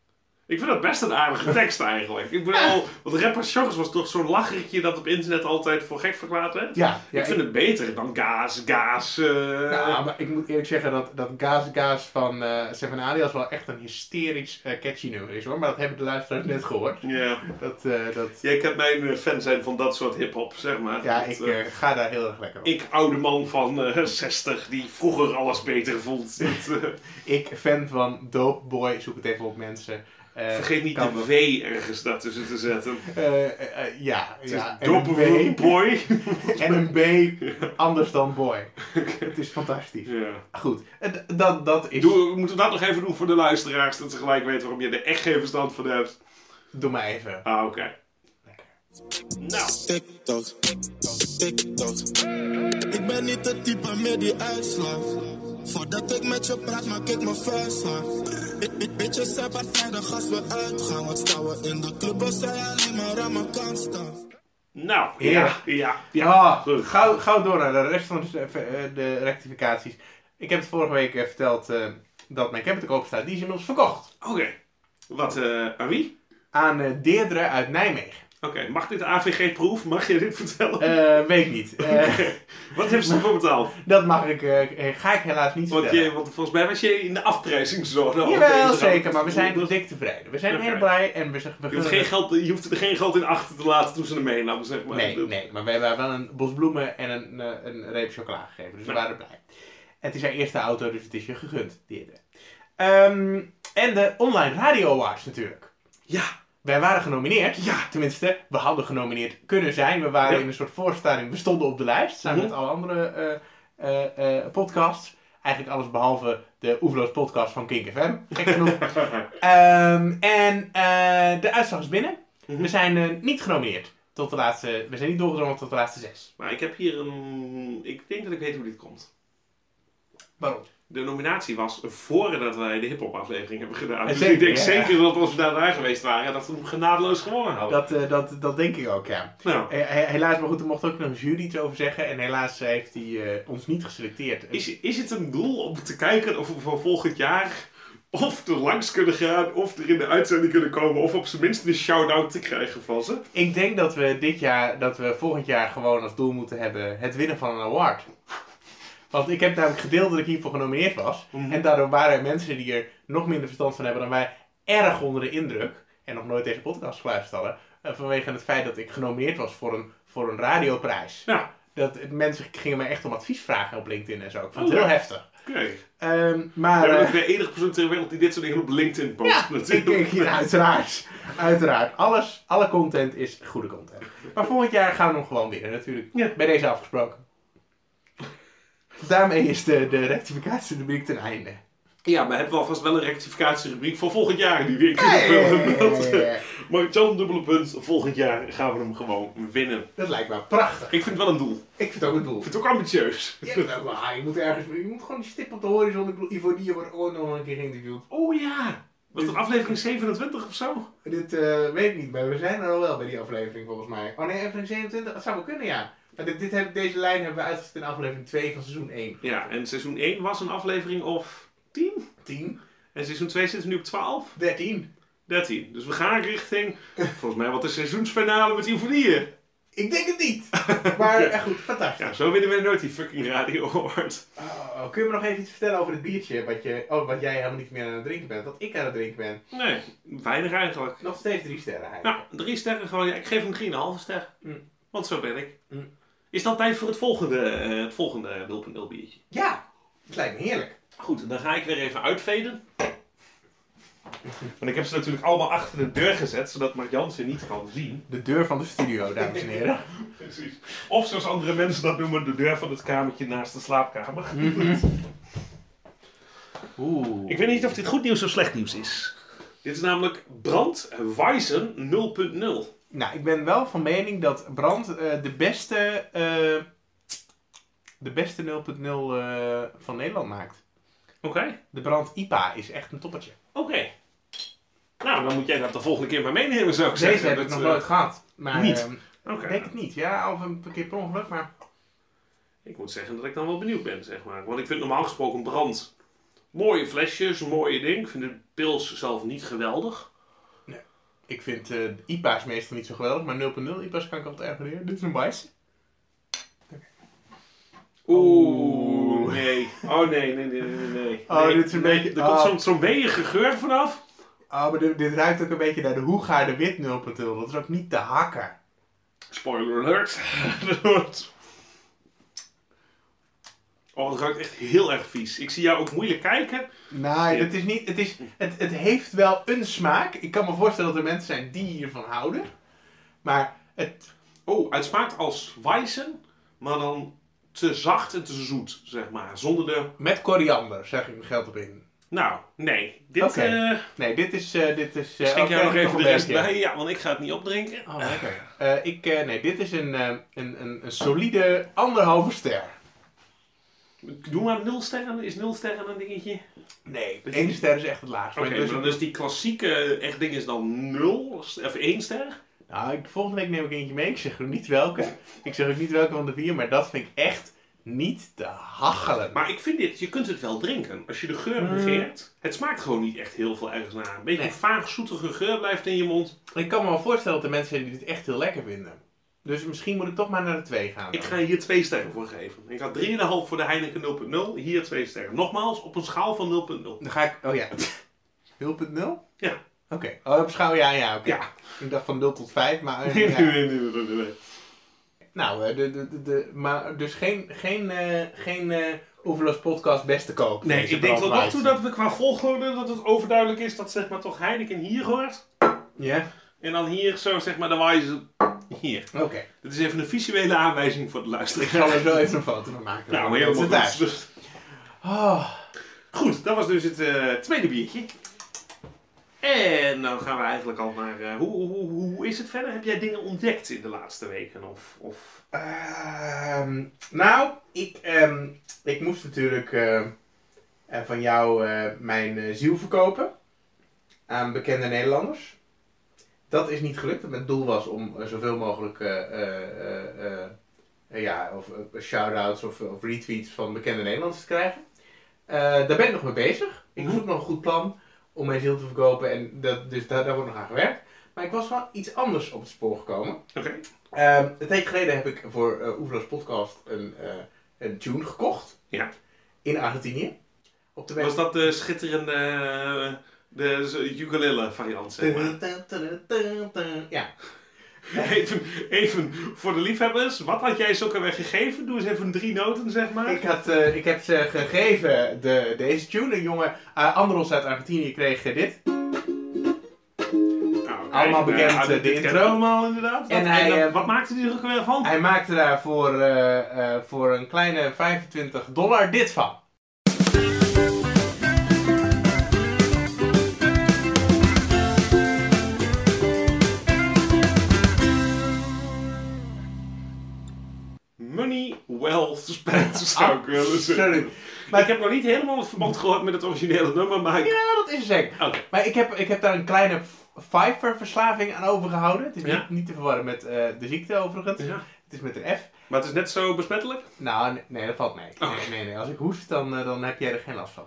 S1: Ik vind dat best een aardige tekst eigenlijk. Ik bedoel, want rapper Sjors was toch zo'n lachertje dat op internet altijd voor gek verklaard werd?
S2: Ja, ja
S1: ik vind het beter dan gaas, gaas. eh,
S2: nou, maar ik moet eerlijk zeggen dat, dat Gaas Gaas van eh, Seven Alias wel echt een hysterisch eh, catchy nummer is hoor. Maar dat hebben de luisteraars net gehoord.
S1: ja.
S2: Dat, eh, dat,
S1: Jij kent mijn eh, fan zijn van dat soort hip-hop, zeg maar.
S2: ja,
S1: Dat,
S2: ik
S1: eh,
S2: eh, ga daar heel erg lekker op.
S1: ik, oude man van eh, 60, die vroeger alles beter vond. Dat, eh,
S2: Ik, fan van Dope Boy, zoek het even op mensen. Eh,
S1: vergeet niet
S2: kan
S1: de
S2: wel.
S1: W ergens daartussen te zetten.
S2: Eh, eh, eh, ja,
S1: Het
S2: ja.
S1: is
S2: En een
S1: Doppelboy.
S2: B.
S1: Boy.
S2: En een B anders dan boy. Het is fantastisch.
S1: Ja.
S2: Goed, eh, d- dat, dat is
S1: Doe, we moeten dat nog even doen voor de luisteraars, dat ze gelijk weten waarom je er echt geen verstand van hebt.
S2: Doe maar even.
S1: Ah, oké. Nou,
S3: TikTok, TikTok. Ik ben niet het type meer die uitslaat. Voordat ik met je praat, maak ik me vuist aan. Beetje seppartijdig als we uitgaan. Wat staan we in de club als zij alleen maar aan mijn kant staan?
S1: nou,
S2: Ja.
S1: ja, ja, ja.
S2: Ja,
S1: goed.
S2: gauw, gauw door naar de rest van de, eh, de rectificaties. Ik heb het vorige week eh, verteld eh, dat mijn camper te koop staat. Die is inmiddels verkocht
S1: Oké. Wat, eh, aan wie?
S2: aan eh, Deirdre uit Nijmegen.
S1: Oké, mag dit AVG-proef? Mag je dit vertellen?
S2: Eh, weet ik niet. Eh,
S1: Wat heeft ze ervoor betaald?
S2: dat mag ik, eh, eh, ga ik helaas niet
S1: Want,
S2: vertellen.
S1: je, want volgens mij was je in de afprijzingszone. al bezig
S2: Jawel,
S1: aan-
S2: zeker, maar we zijn
S1: Dat-
S2: dik tevreden. We zijn
S1: Oké.
S2: heel blij en we, z- we
S1: Je hoeft,
S2: gunnen
S1: geen
S2: het-
S1: geld, je hoeft er geen geld in achter te laten toen ze hem meenamen, zeg maar.
S2: Nee,
S1: Dat-
S2: nee, maar we hebben wel een bos bloemen en een, eh, een reep chocola gegeven. Dus we
S1: Ja.
S2: waren blij. Het is haar eerste auto, dus het is je gegund. Die Ehm en de Online Radio Awards natuurlijk.
S1: Ja,
S2: Wij waren genomineerd.
S1: Ja.
S2: Tenminste, we hadden genomineerd kunnen zijn. We waren
S1: Ja.
S2: in een soort voorstelling. We stonden op de lijst, samen
S1: Mhm.
S2: met alle andere eh, eh, eh, podcasts. Eigenlijk alles behalve de Oeverloos podcast van Kink FM. Gek genoeg. Ehm, en eh, de uitslag is binnen.
S1: Mhm.
S2: We zijn eh, niet genomineerd tot de laatste. We zijn niet doorgedrongen tot de laatste zes.
S1: maar ik heb hier een... Ik denk dat ik weet hoe dit komt.
S2: Waarom?
S1: De nominatie was voordat wij de hip-hop aflevering hebben gedaan. Dus
S2: zeker,
S1: ik denk
S2: ja.
S1: zeker dat als we daar naar geweest waren, dat we hem genadeloos gewonnen hadden.
S2: Dat, eh, dat, dat denk ik ook, ja.
S1: Nou,
S2: Eh, he- helaas, maar goed, er mocht ook nog een jury iets over zeggen. En helaas heeft hij eh, ons niet geselecteerd.
S1: is, is het een doel om te kijken of we van volgend jaar of er langs kunnen gaan, of er in de uitzending kunnen komen, of op zijn minst een shout-out te krijgen van ze?
S2: Ik denk dat we dit jaar, dat we volgend jaar gewoon als doel moeten hebben het winnen van een award. Want ik heb namelijk gedeeltelijk hiervoor genomineerd was.
S1: Mhm.
S2: En daardoor waren er mensen die er nog minder verstand van hebben dan wij erg onder de indruk. en nog nooit deze podcast geluisterd hadden. eh, vanwege het feit dat ik genomineerd was voor een, voor een radioprijs.
S1: Nou,
S2: Dat eh, mensen gingen mij echt om advies vragen op LinkedIn en zo. Ik vond
S1: Oh,
S2: het heel
S1: leuk.
S2: heftig.
S1: oké.
S2: Ehm, maar...
S1: Ja,
S2: eh,
S1: ik ben de enige persoon ter wereld die dit soort dingen op LinkedIn post.
S2: Ja, ik
S1: natuurlijk.
S2: denk hier uiteraard. Uiteraard. Alles, alle content is goede content. Maar volgend jaar gaan we hem gewoon weer, natuurlijk.
S1: Ja.
S2: Bij deze afgesproken. Daarmee is de, de rectificatie ten einde.
S1: Ja, maar hebben we alvast wel een rectificatierubriek voor volgend jaar die we in kunnen vullen.
S2: Hey!
S1: Maar John, dubbele punt. Volgend jaar gaan we hem gewoon winnen.
S2: Dat lijkt me prachtig.
S1: Ik vind het wel een doel.
S2: Ik vind het ook een doel.
S1: Ik vind het ook ambitieus.
S2: Ja, maar ah, je moet ergens, je moet gewoon een stip op de horizon. Ik bedoel, Ivonie wordt ook nog een keer geïnterviewd.
S1: Oh ja. Was dat aflevering 27 of zo?
S2: Dit eh, weet ik niet, maar we zijn er al wel bij die aflevering volgens mij. Oh nee, aflevering 27, dat zou wel kunnen ja. Maar dit, dit heb, deze lijn hebben we uitgezet in aflevering 2 van seizoen 1.
S1: Ja, en seizoen 1 was een aflevering of 10.
S2: 10,
S1: En seizoen 2 zitten we nu op 12,
S2: 13.
S1: 13. Dus we gaan richting, volgens mij, wat de seizoensfinale met Ivonieën.
S2: Ik denk het niet. Maar
S1: Oké.
S2: eh, goed, fantastisch.
S1: Ja, zo winnen we nooit die fucking radio award.
S2: Oh, kun je me nog even iets vertellen over het biertje wat, je, oh, wat jij helemaal niet meer aan het drinken bent? Dat ik aan het drinken ben.
S1: Nee, weinig eigenlijk.
S2: Nog steeds drie sterren eigenlijk.
S1: Nou, drie sterren gewoon. Ja, ik geef hem 3,5 ster.
S2: Mm.
S1: Want zo ben ik.
S2: Mm.
S1: Is dan tijd voor het volgende, eh, het volgende 0.0 biertje?
S2: Ja, het lijkt me heerlijk.
S1: Goed, dan ga ik weer even uitveden. Want ik heb ze natuurlijk allemaal achter de deur gezet, zodat Marjan ze niet kan zien.
S2: De deur van de studio, dames en heren.
S1: Precies. Of zoals andere mensen dat noemen, de deur van het kamertje naast de slaapkamer.
S2: Oeh.
S1: Hm. Ik weet niet of dit goed nieuws of slecht nieuws is. Dit is namelijk Brandwijzen 0.0.
S2: Nou, ik ben wel van mening dat Brand eh, de beste, eh, de beste 0.0 eh, van Nederland maakt.
S1: Oké.
S2: De Brand IPA is echt een toppertje.
S1: Oké. Nou, dan moet jij dat de volgende keer maar meenemen, zou ik
S2: Deze
S1: zeggen.
S2: heb ik
S1: Dat,
S2: nog
S1: eh,
S2: nooit gehad. Maar,
S1: niet.
S2: ehm,
S1: Oké.
S2: ik denk het niet. Ja, of een keer per ongeluk, maar...
S1: Ik moet zeggen dat ik dan wel benieuwd ben, zeg maar. Want ik vind normaal gesproken brand mooie flesjes, een mooie ding. Ik vind de pils zelf niet geweldig.
S2: Ik vind eh, de IPA's meestal niet zo geweldig, maar 0.0 IPA's kan ik altijd erg leren. Dit is een wijs. Oeh.
S1: nee. Oh, nee, nee, nee, nee, nee.
S2: Oh,
S1: Nee,
S2: dit is een
S1: nee,
S2: beetje-
S1: Er komt
S2: ah.
S1: zo'n zo'n weeënge geur vanaf.
S2: Oh, maar dit, dit ruikt ook een beetje naar de Hoega de Wit 0.0. Dat is ook niet te hakken.
S1: Spoiler alert. Dat wordt- oh, dat ruikt echt heel erg vies. Ik zie jou ook moeilijk kijken.
S2: Nee,
S1: Ja.
S2: het is niet. Het, is, het, het heeft wel een smaak. Ik kan me voorstellen dat er mensen zijn die hiervan houden. Maar het.
S1: Oh, het smaakt als wijzen, maar dan te zacht en te zoet, zeg maar. Zonder de...
S2: Met koriander, zeg ik mijn geld op in.
S1: Nou, nee. Dit...
S2: Oké.
S1: eh,
S2: Nee, dit is. eh, dit is eh,
S1: Schenk
S2: oké,
S1: jij nog
S2: nog
S1: even de
S2: een
S1: rest
S2: beetje.
S1: bij? Ja, want ik ga het niet opdrinken.
S2: Oh, lekker. Eh, ik, eh, nee, dit is een, eh, een, een, een solide anderhalve ster.
S1: Doe maar nul sterren. Is nul sterren een dingetje?
S2: Nee, één ster is echt het laagst.
S1: Oké,
S2: Maar dus-
S1: maar dus die klassieke echt ding is dan nul of één ster?
S2: Nou, ik, volgende week neem ik eentje mee. Ik zeg ook niet welke. Ik zeg ook niet welke van de vier, maar dat vind ik echt niet te hachelen.
S1: Maar ik vind dit, je kunt het wel drinken. Als je de geur negeert, het smaakt gewoon niet echt heel veel ergens naar. Een beetje
S2: Nee.
S1: een vaag zoetige geur blijft in je mond.
S2: Ik kan me wel voorstellen dat er mensen zijn die dit echt heel lekker vinden. Dus misschien moet ik toch maar naar de 2 gaan.
S1: Ik ga hier twee sterren voor geven. Ik had 3,5 voor de Heineken 0.0, hier twee sterren. Nogmaals, op een schaal van 0.0.
S2: Dan ga ik... Oh ja. 0.0?
S1: Ja.
S2: Oké. Oh, op schaal ja, ja, oké.
S1: Ja.
S2: Ik dacht van 0 tot 5, maar... eh,
S1: Nee,
S2: ja.
S1: nee, nee, nee, nee, nee.
S2: Nou, eh, de, de, de, de- maar dus geen, geen, eh geen eh Oeverloos podcast best te koop.
S1: Nee,
S2: Deze
S1: ik denk tot nog toe
S2: brandwijzer.
S1: dat we qua volgorde dat het overduidelijk is dat zeg maar toch Heineken hier hoort.
S2: Ja?
S1: En dan hier zo zeg maar de wijze hier.
S2: Oké.
S1: Dit is even een visuele aanwijzing voor de
S2: Ik zal
S1: luisteraar.
S2: er zo even een foto van maken.
S1: Nou,
S2: Dat is het
S1: helemaal
S2: daar.
S1: goed. Dus-
S2: Oh,
S1: Goed, dat was dus het eh, tweede biertje. En dan gaan we eigenlijk al naar... eh, hoe, hoe, hoe is het verder? Heb jij dingen ontdekt in de laatste weken? Of, of...
S2: Ehm, nou, ik, ehm, ik moest natuurlijk eh, eh, van jou eh, mijn eh, ziel verkopen aan bekende Nederlanders. Dat is niet gelukt. Mijn doel was om eh, zoveel mogelijk eh, eh, eh, eh, eh, ja, of, eh, shout-outs of, of retweets van bekende Nederlanders te krijgen. Eh, daar ben ik nog mee bezig. Ik zoek nog een goed plan om mijn ziel te verkopen. En dat, dus daar, daar wordt nog aan gewerkt. Maar ik was wel iets anders op het spoor gekomen.
S1: Oké.
S2: Ehm, een tijdje geleden heb ik voor eh Oeverloos Podcast een, eh, een tune gekocht.
S1: Ja.
S2: In Argentinië. Op de weg.
S1: Was dat de schitterende... eh, De z- ukulele variant, zeg
S2: Mhm.
S1: maar.
S2: Ja.
S1: Even, even voor de liefhebbers, wat had jij ze ook alweer gegeven? Doe eens even drie noten, zeg maar.
S2: Ik, had, eh, ik heb ze gegeven de, deze tune. Een jongen, eh Andros uit Argentinië, kreeg eh, dit.
S1: Nou, oké.
S2: allemaal bekend,
S1: Ja,
S2: eh,
S1: dit-
S2: de
S1: dit kennen
S2: intro.
S1: we allemaal inderdaad.
S2: En
S1: En
S2: hij,
S1: dan-
S2: eh,
S1: wat maakte hij er ook weer van?
S2: Hij maakte daar voor, eh, eh, voor een kleine 25 dollar dit van.
S1: Money well spent, zou ik willen zeggen.
S2: Ah, Sorry.
S1: Maar ik heb nog niet helemaal het verband gehoord met het originele nummer, maar ik... Oh,
S2: Ja, dat is zeker.
S1: Oké.
S2: Maar ik heb, ik heb daar een kleine Fiverr-verslaving aan overgehouden. Het is
S1: Ja.
S2: niet, niet te verwarren met eh, de ziekte overigens.
S1: Ja.
S2: Het is met een F.
S1: Maar het is net zo besmettelijk.
S2: Nou, nee, nee, dat valt mee.
S1: Oh.
S2: Nee, nee, nee. Als ik hoest, dan, eh, dan heb jij er geen last van.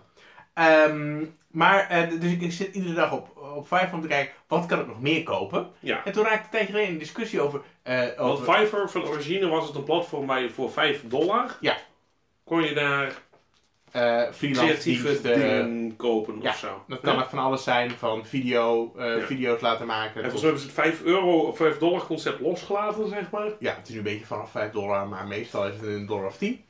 S2: Ehm, maar, eh, dus ik, ik zit iedere dag op, op Fiverr om te kijken, wat kan ik nog meer kopen?
S1: Ja.
S2: En toen raakte ik een tijdje geleden in een discussie over... eh,
S1: Want
S2: over
S1: Fiverr van origine was het een platform waar je voor 5 dollar
S2: Ja.
S1: kon je daar
S2: eh, freelance
S1: creatieve
S2: diensten. eh,
S1: dingen kopen
S2: ja,
S1: of zo.
S2: Dat kan
S1: Ja.
S2: echt van alles zijn, van video, eh,
S1: Ja.
S2: video's laten maken.
S1: En volgens
S2: tot-
S1: mij hebben ze het 5 euro of 5 dollar concept losgelaten, zeg maar.
S2: ja, het is nu een beetje vanaf 5 dollar, maar meestal is het een dollar of 10.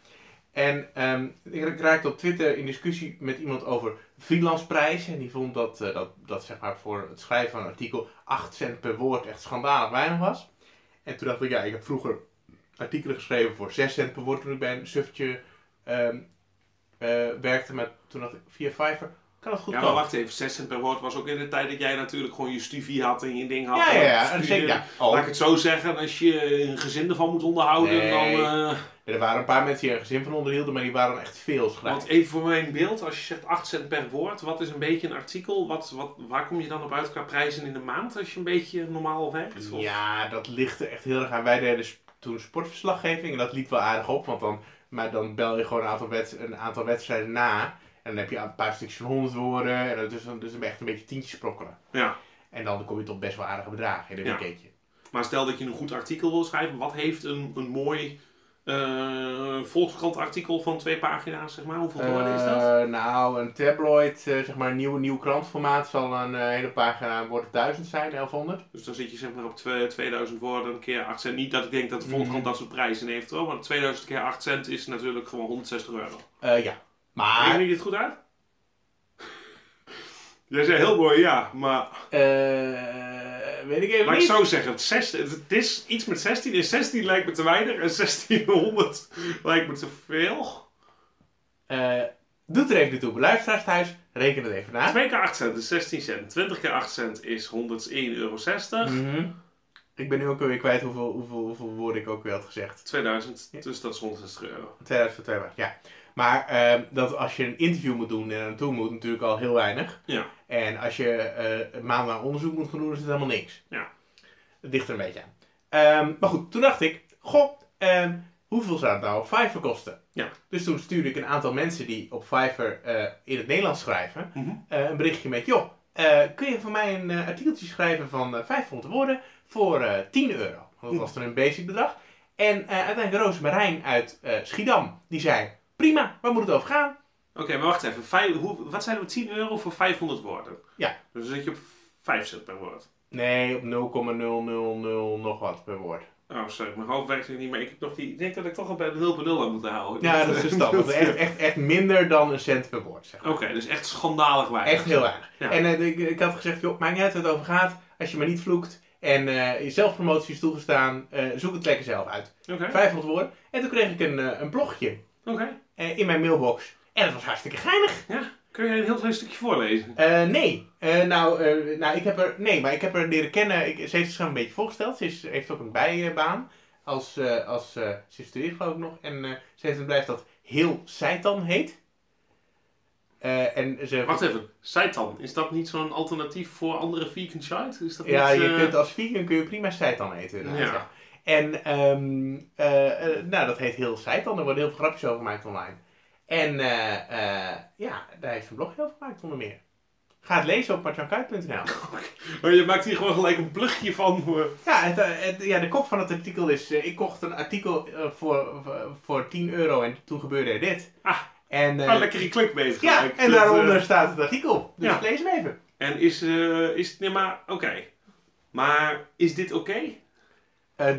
S2: En ehm, ik raakte op Twitter in discussie met iemand over freelanceprijzen. En die vond dat, eh, dat, dat zeg maar voor het schrijven van een artikel 8 cent per woord echt schandalig weinig was. En toen dacht ik, ja, ik heb vroeger artikelen geschreven voor 6 cent per woord toen ik bij een suffertje ehm, eh, werkte. Maar toen dacht ik, via Fiverr kan dat goed
S1: Ja, maar
S2: komen.
S1: wacht even. 6 cent per woord was ook in de tijd dat jij natuurlijk gewoon je studie had en je ding had.
S2: ja, ja,
S1: En
S2: ja. en
S1: studie-
S2: zeker, ja.
S1: Laat
S2: Oh,
S1: ik het zo zeggen, als je een gezin ervan moet onderhouden,
S2: Nee.
S1: dan... eh,
S2: er waren een paar mensen die er gezin van onderhielden, maar die waren echt veel schrijven.
S1: want even voor mijn beeld, als je zegt 8 cent per woord, wat is een beetje een artikel? Wat, wat, waar kom je dan op uit qua prijzen in de maand als je een beetje normaal werkt? Of-
S2: Ja, dat ligt er echt heel erg aan. Wij deden s- toen sportverslaggeving en dat liep wel aardig op. Want dan, maar dan bel je gewoon een aantal, wed- een aantal wedstrijden na. En dan heb je een paar stukjes van 100 woorden. En dat is dan dus echt een beetje tientjes prokkelen.
S1: Ja.
S2: En dan kom je tot best wel aardige bedragen in een
S1: Ja.
S2: weekendje.
S1: Maar stel dat je een goed artikel wil schrijven, wat heeft een, een mooi eh Volkskrant artikel van twee pagina's, zeg maar? Hoeveel woorden is dat?
S2: Eh, nou, een tabloid, eh, zeg maar, een nieuw, nieuw krantformaat zal een eh, hele pagina worden 1000 zijn, 1100.
S1: Dus dan zit je zeg maar op twe- 2000 woorden een keer 8 cent. Niet dat ik denk dat de
S2: Mhm.
S1: Volkskrant dat soort prijzen heeft hoor. Want 2000 keer 8 cent is natuurlijk gewoon 160 euro.
S2: Eh, ja.
S1: Leg
S2: Maar
S1: je dit goed uit? Jij zei heel mooi ja, maar
S2: eh, weet ik even
S1: laat ik
S2: niet.
S1: zo zeggen. Het, zes- het is iets met 16 en 16 lijkt me te weinig en 1600 lijkt me te veel.
S2: Eh, doet er even niet toe. Luisteraars thuis, reken het even na.
S1: 2 keer 8 cent is 16 cent. 20 keer 8 cent is 101,60 euro.
S2: Mhm. Ik ben nu ook weer kwijt hoeveel, hoeveel, hoeveel woorden ik ook weer had gezegd.
S1: 2000, dus dat is 160 euro.
S2: 2022, ja. Maar ehm, dat als je een interview moet doen en er naartoe moet, natuurlijk al heel weinig.
S1: Ja.
S2: En als je eh een maand lang onderzoek moet gaan doen, is het helemaal niks.
S1: Ja.
S2: Het ligt er een beetje aan. Ehm, maar goed, toen dacht ik, goh, ehm, hoeveel zou het nou op Fiverr kosten?
S1: Ja.
S2: Dus toen stuurde ik een aantal mensen die op Fiverr eh, in het Nederlands schrijven,
S1: Mhm.
S2: eh, een berichtje met, joh, eh, kun je voor mij een eh, artikeltje schrijven van eh, 500 woorden voor eh 10 euro?
S1: Mhm.
S2: Want dat was dan een basic bedrag. En eh, uiteindelijk Roos Marijn uit eh, Schiedam, die zei, prima, waar moet het over gaan?
S1: Oké, maar wacht even. Vijf, hoe, wat zijn we 10 euro voor 500 woorden?
S2: Ja.
S1: Dus dan zit je op 5 cent per woord.
S2: Nee, op 0,000 nog wat per woord.
S1: Oh, sorry, mijn hoofd werkt er niet meer. Ik, heb nog die, ik denk dat ik toch al bij de 0 0 aan moet houden.
S2: Ja, dat is dus dan. Dat is echt, echt, echt minder dan een cent per woord, zeg
S1: Oké,
S2: maar.
S1: dus echt schandalig weinig.
S2: Echt heel weinig.
S1: Ja.
S2: En eh, ik, ik had gezegd, joh, maakt niet uit waar het over gaat. Als je maar niet vloekt en eh, je zelfpromotie is toegestaan, eh, zoek het lekker zelf uit.
S1: Oké,
S2: 500 woorden. En toen kreeg ik een, eh, een blogje
S1: oké.
S2: eh, in mijn mailbox. En dat was hartstikke geinig.
S1: Kun je een heel klein stukje voorlezen?
S2: Eh, nee. Eh, nou, eh, nou, ik heb er... Nee, maar ik heb haar leren kennen. Ik, ze heeft zich een beetje voorgesteld. Ze is, heeft ook een bijbaan. Als, eh, als, eh, ze studeert geloof ik nog. En eh, ze heeft een bedrijf dat Heel Seitan heet. Eh, en ze...
S1: Wacht even, Seitan, is dat niet zo'n alternatief voor andere vegan shite? Is dat
S2: Ja,
S1: niet,
S2: je
S1: eh,
S2: kunt als vegan kun je prima seitan eten. inderdaad,
S1: Ja.
S2: ja. En ehm, eh, eh, nou, dat heet heel seitan. Er worden heel veel grapjes over gemaakt online. En eh, eh, ja, daar heeft ze een blogje over gemaakt onder meer. Ga het lezen op martjankuit.nl.
S1: Maar Oh, je maakt hier gewoon gelijk een plugje van. hoor.
S2: Ja, het, eh, het- ja, de kop van het artikel is... eh, ik kocht een artikel eh, voor, voor, voor 10 euro en toen gebeurde er dit.
S1: Ah.
S2: En, eh,
S1: Maar lekker die klik bezig.
S2: ja,
S1: gelijk.
S2: en
S1: Dat, eh,
S2: daaronder staat het artikel. Dus
S1: ja.
S2: lees hem even.
S1: En is, eh, is nee, maar oké. Maar is dit oké?
S2: Eh,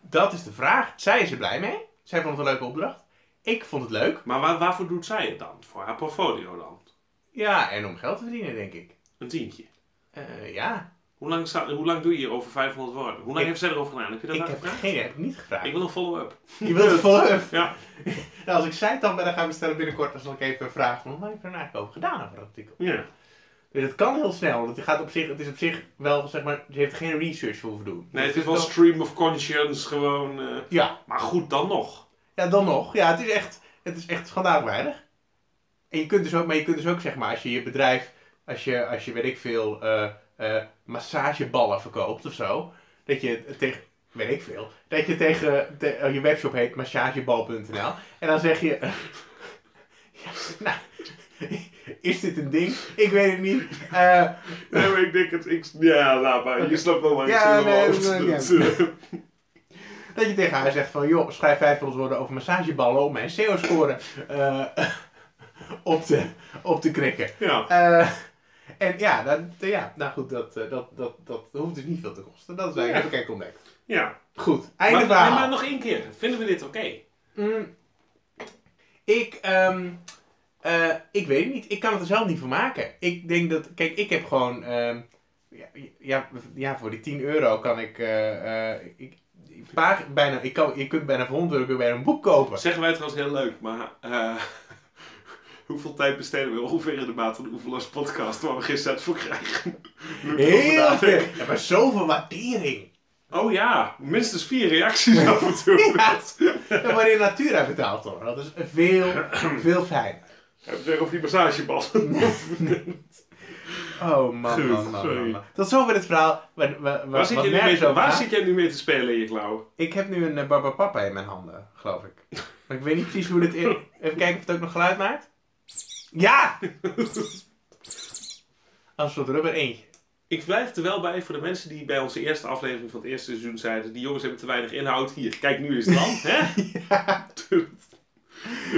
S2: dat is de vraag. Zij is er blij mee. Zij vond het een leuke opdracht. Ik vond het leuk.
S1: Maar waar- waarvoor doet zij het dan? Voor haar portfolio dan?
S2: Ja, en om geld te verdienen, denk ik.
S1: Een tientje.
S2: Eh, ja,
S1: Hoe lang, sta- hoe lang doe je hier over 500 woorden? Hoe lang
S2: Ik-
S1: heeft zij erover gedaan? Heb je dat
S2: ik
S1: aan
S2: heb,
S1: gevraagd?
S2: geen, heb ik niet gevraagd.
S1: Ik wil een follow-up.
S2: Je wilt het volgen.
S1: Ja.
S2: Nou, als ik zij het dan ben, dan gaan bestellen binnenkort, dan zal ik even vragen van, wat heb je er nou eigenlijk over gedaan over dat artikel?
S1: ja.
S2: Dus het kan heel snel, want het, gaat op zich, het is op zich wel, zeg maar, je heeft geen research voor hoeven doen.
S1: Nee,
S2: Dus
S1: het is wel
S2: dan-
S1: stream of conscience gewoon. eh,
S2: Ja,
S1: maar goed, dan nog.
S2: ja, dan nog. Ja, het is echt, het is echt schandalig weinig. En je kunt dus ook, maar je kunt dus ook, zeg maar, als je je bedrijf, als je, als je weet ik veel, eh, eh, massageballen verkoopt of zo, dat je tegen, weet ik veel, dat je tegen, te- eh, je webshop heet massagebal.nl en dan zeg je, eh, ja, nou, is dit een ding? Ik weet het niet. Eh,
S1: Nee, maar ik denk het. Ik, ja, laat maar. Je snapt wel waar ik
S2: Ja,
S1: zin in mijn
S2: nee,
S1: hoofd.
S2: nee,
S1: Dat, eh,
S2: dat je tegen haar zegt van, joh, schrijf 500 woorden over massageballen om mijn SEO-score eh, op, te, op te krikken.
S1: ja.
S2: Eh, en ja, dan, ja, nou goed, dat, eh, dat, dat, dat hoeft dus niet veel te kosten. Dat is eigenlijk,
S1: Ja.
S2: heb ik eigenlijk ontdekt.
S1: ja.
S2: Goed,
S1: Maar,
S2: einde
S1: nee,
S2: verhaal.
S1: maar nog één keer. Vinden we dit oké?
S2: Mm. ik, ehm, eh, ik weet het niet. Ik kan het er zelf niet van maken. Ik denk dat, kijk, ik heb gewoon, ehm, ja, ja, ja, voor die 10 euro kan ik, eh, eh, ik, ik paar- bijna, ik kan, je kunt bijna voor 100 euro kun je bijna een boek kopen.
S1: Zeggen wij trouwens heel leuk, maar eh, hoeveel tijd besteden we ongeveer in de maat van de Oeverlast podcast waar we geen cent voor krijgen? Nu ik erover
S2: Heel
S1: nadenk.
S2: veel. Ja, maar zoveel waardering.
S1: Oh ja, minstens vier reacties af en toe.
S2: Ja. Dan word je in natura betaald hoor. Dat is veel, veel fijner.
S1: Heb je het weer over die massagebal?
S2: Oh man,
S1: Goed,
S2: man, man, man,
S1: sorry.
S2: man. Tot zover het verhaal. Waar, waar,
S1: Waar,
S2: waar,
S1: zit,
S2: wat
S1: je nu mee,
S2: nergens over
S1: waar
S2: gaat.
S1: zit jij nu mee te spelen in je klauw?
S2: Ik heb nu een eh, Barba Papa in mijn handen, geloof ik. Maar ik weet niet precies hoe dit in... Even kijken of het ook nog geluid maakt. Ja! Als een soort rubber eentje.
S1: Ik blijf er wel bij voor de mensen die bij onze eerste aflevering van het eerste seizoen zeiden: die jongens hebben te weinig inhoud. Hier, kijk nu eens dan. Hè?
S2: Ja,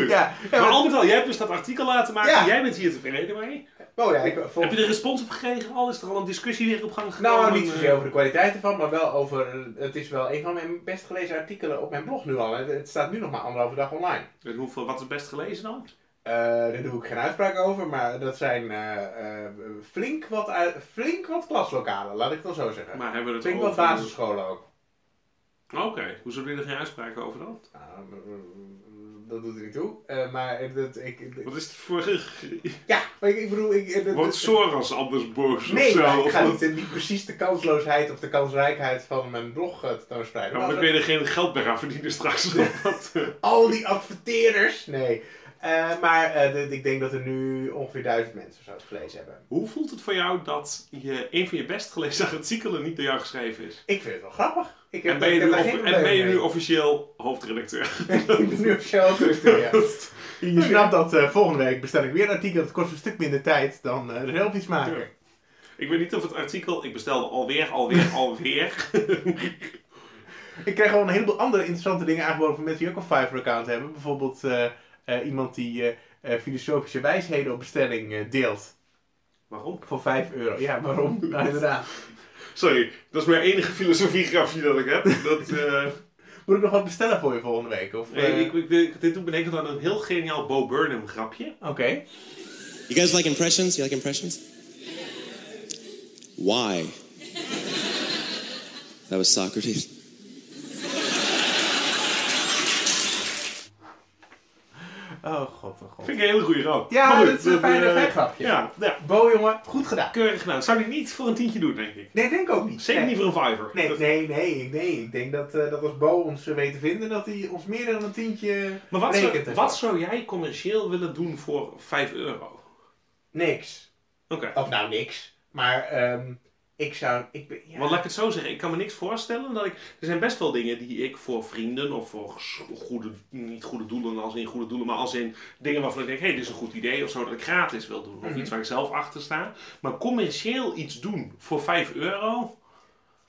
S2: ja,
S1: Maar
S2: maar-
S1: al met al, jij hebt dus dat artikel laten maken.
S2: Ja.
S1: Jij bent hier tevreden mee.
S2: Oh ja, ik... vol-
S1: Heb je er respons op gekregen? Al is er al een discussie weer op gang gekomen?
S2: Nou, niet zozeer
S1: Eh,
S2: over de kwaliteit ervan, maar wel over... eh, Het is wel een van mijn best gelezen artikelen op mijn blog nu al. Het, het staat nu nog maar anderhalve dag online.
S1: En hoeveel, wat is het best gelezen dan?
S2: Eh, daar doe ik geen uitspraak over, maar dat zijn eh, eh, flink, wat, uit- flink wat klaslokalen, laat ik het dan zo zeggen.
S1: Maar hebben we het
S2: flink
S1: over...
S2: wat basisscholen ook.
S1: Oké, hoe zullen jullie er geen uitspraken over dan?
S2: Nou, dat doet er niet toe. Eh, maar dat, ik, ik-
S1: Wat is het voor...
S2: ja, maar ik, ik bedoel... Ik, eh, dat-
S1: Wordt Soros anders boos of
S2: nee,
S1: zo?
S2: maar ik
S1: Of
S2: ga
S1: wat?
S2: niet, eh, niet precies de kansloosheid of de kansrijkheid van mijn blog eh, tentoonspreiden.
S1: Ja, maar
S2: Maar
S1: dan kun je er geen geld meer aan verdienen straks. eh, of wat?
S2: Al die adverteerders! Nee. Eh, maar eh, dit- ik denk dat er nu ongeveer duizend mensen zo het gelezen hebben.
S1: Hoe voelt het voor jou dat je, een van je best gelezen artikelen niet door jou geschreven is?
S2: Ik vind het wel grappig. Ik heb,
S1: En ben je,
S2: ik heb
S1: nu,
S2: daar
S1: of-
S2: geen
S1: en ben je
S2: probleem
S1: nu officieel hoofdredacteur?
S2: mee. ik ben nu officieel ook rustig, ja. Je snapt dat eh, volgende week bestel ik weer een artikel. Dat kost een stuk minder tijd dan eh, zelf iets maken.
S1: Ik weet niet of het artikel... Ik bestelde alweer, alweer, alweer.
S2: Ik krijg gewoon een heleboel andere interessante dingen aangeboden van mensen die ook een Fiverr-account hebben. Bijvoorbeeld eh, eh, iemand die eh, eh, filosofische wijsheden op bestelling eh, deelt.
S1: Waarom?
S2: Voor 5 euro. Ja, waarom? nou, inderdaad.
S1: Sorry, dat is mijn enige filosofiegrafje dat ik heb. Dat... eh,
S2: Moet ik nog wat bestellen voor je volgende week? Of,
S1: Nee,
S2: eh,
S1: ik, ik, ik- dit doet me denken aan een heel geniaal Bo Burnham grapje.
S2: Oké.
S4: You guys like impressions? You like impressions? Why? That was Socrates.
S2: Oh god, oh god.
S1: Vind ik een hele goede grap.
S2: Ja,
S1: Maar goed,
S2: dat is een fijne
S1: eh,
S2: grapje.
S1: Ja, ja,
S2: Bo, jongen, goed gedaan.
S1: keurig gedaan. Zou die niet voor een tientje doen, denk ik.
S2: Nee, denk ook niet.
S1: Zeker
S2: nee.
S1: niet voor een vijver.
S2: Nee,
S1: Dat-
S2: nee, nee, ik- nee. Ik denk dat, eh, dat als Bo ons eh, weet te vinden, dat hij ons meer dan een tientje
S1: Maar wat,
S2: rekent.
S1: zou,
S2: ervan.
S1: wat zou jij commercieel willen doen voor 5 euro?
S2: Niks.
S1: Oké.
S2: Of nou, niks. Maar ehm, ik zou... Ik, ben- ja.
S1: Want laat ik het zo zeggen, ik kan me niks voorstellen dat ik... Er zijn best wel dingen die ik voor vrienden of voor s- goede, niet goede doelen als in goede doelen, maar als in dingen waarvan ik denk, hé, dit is een goed idee of zo, dat ik gratis wil
S2: Mhm.
S1: doen. Of iets waar ik zelf achter sta. Maar commercieel iets doen voor 5 euro,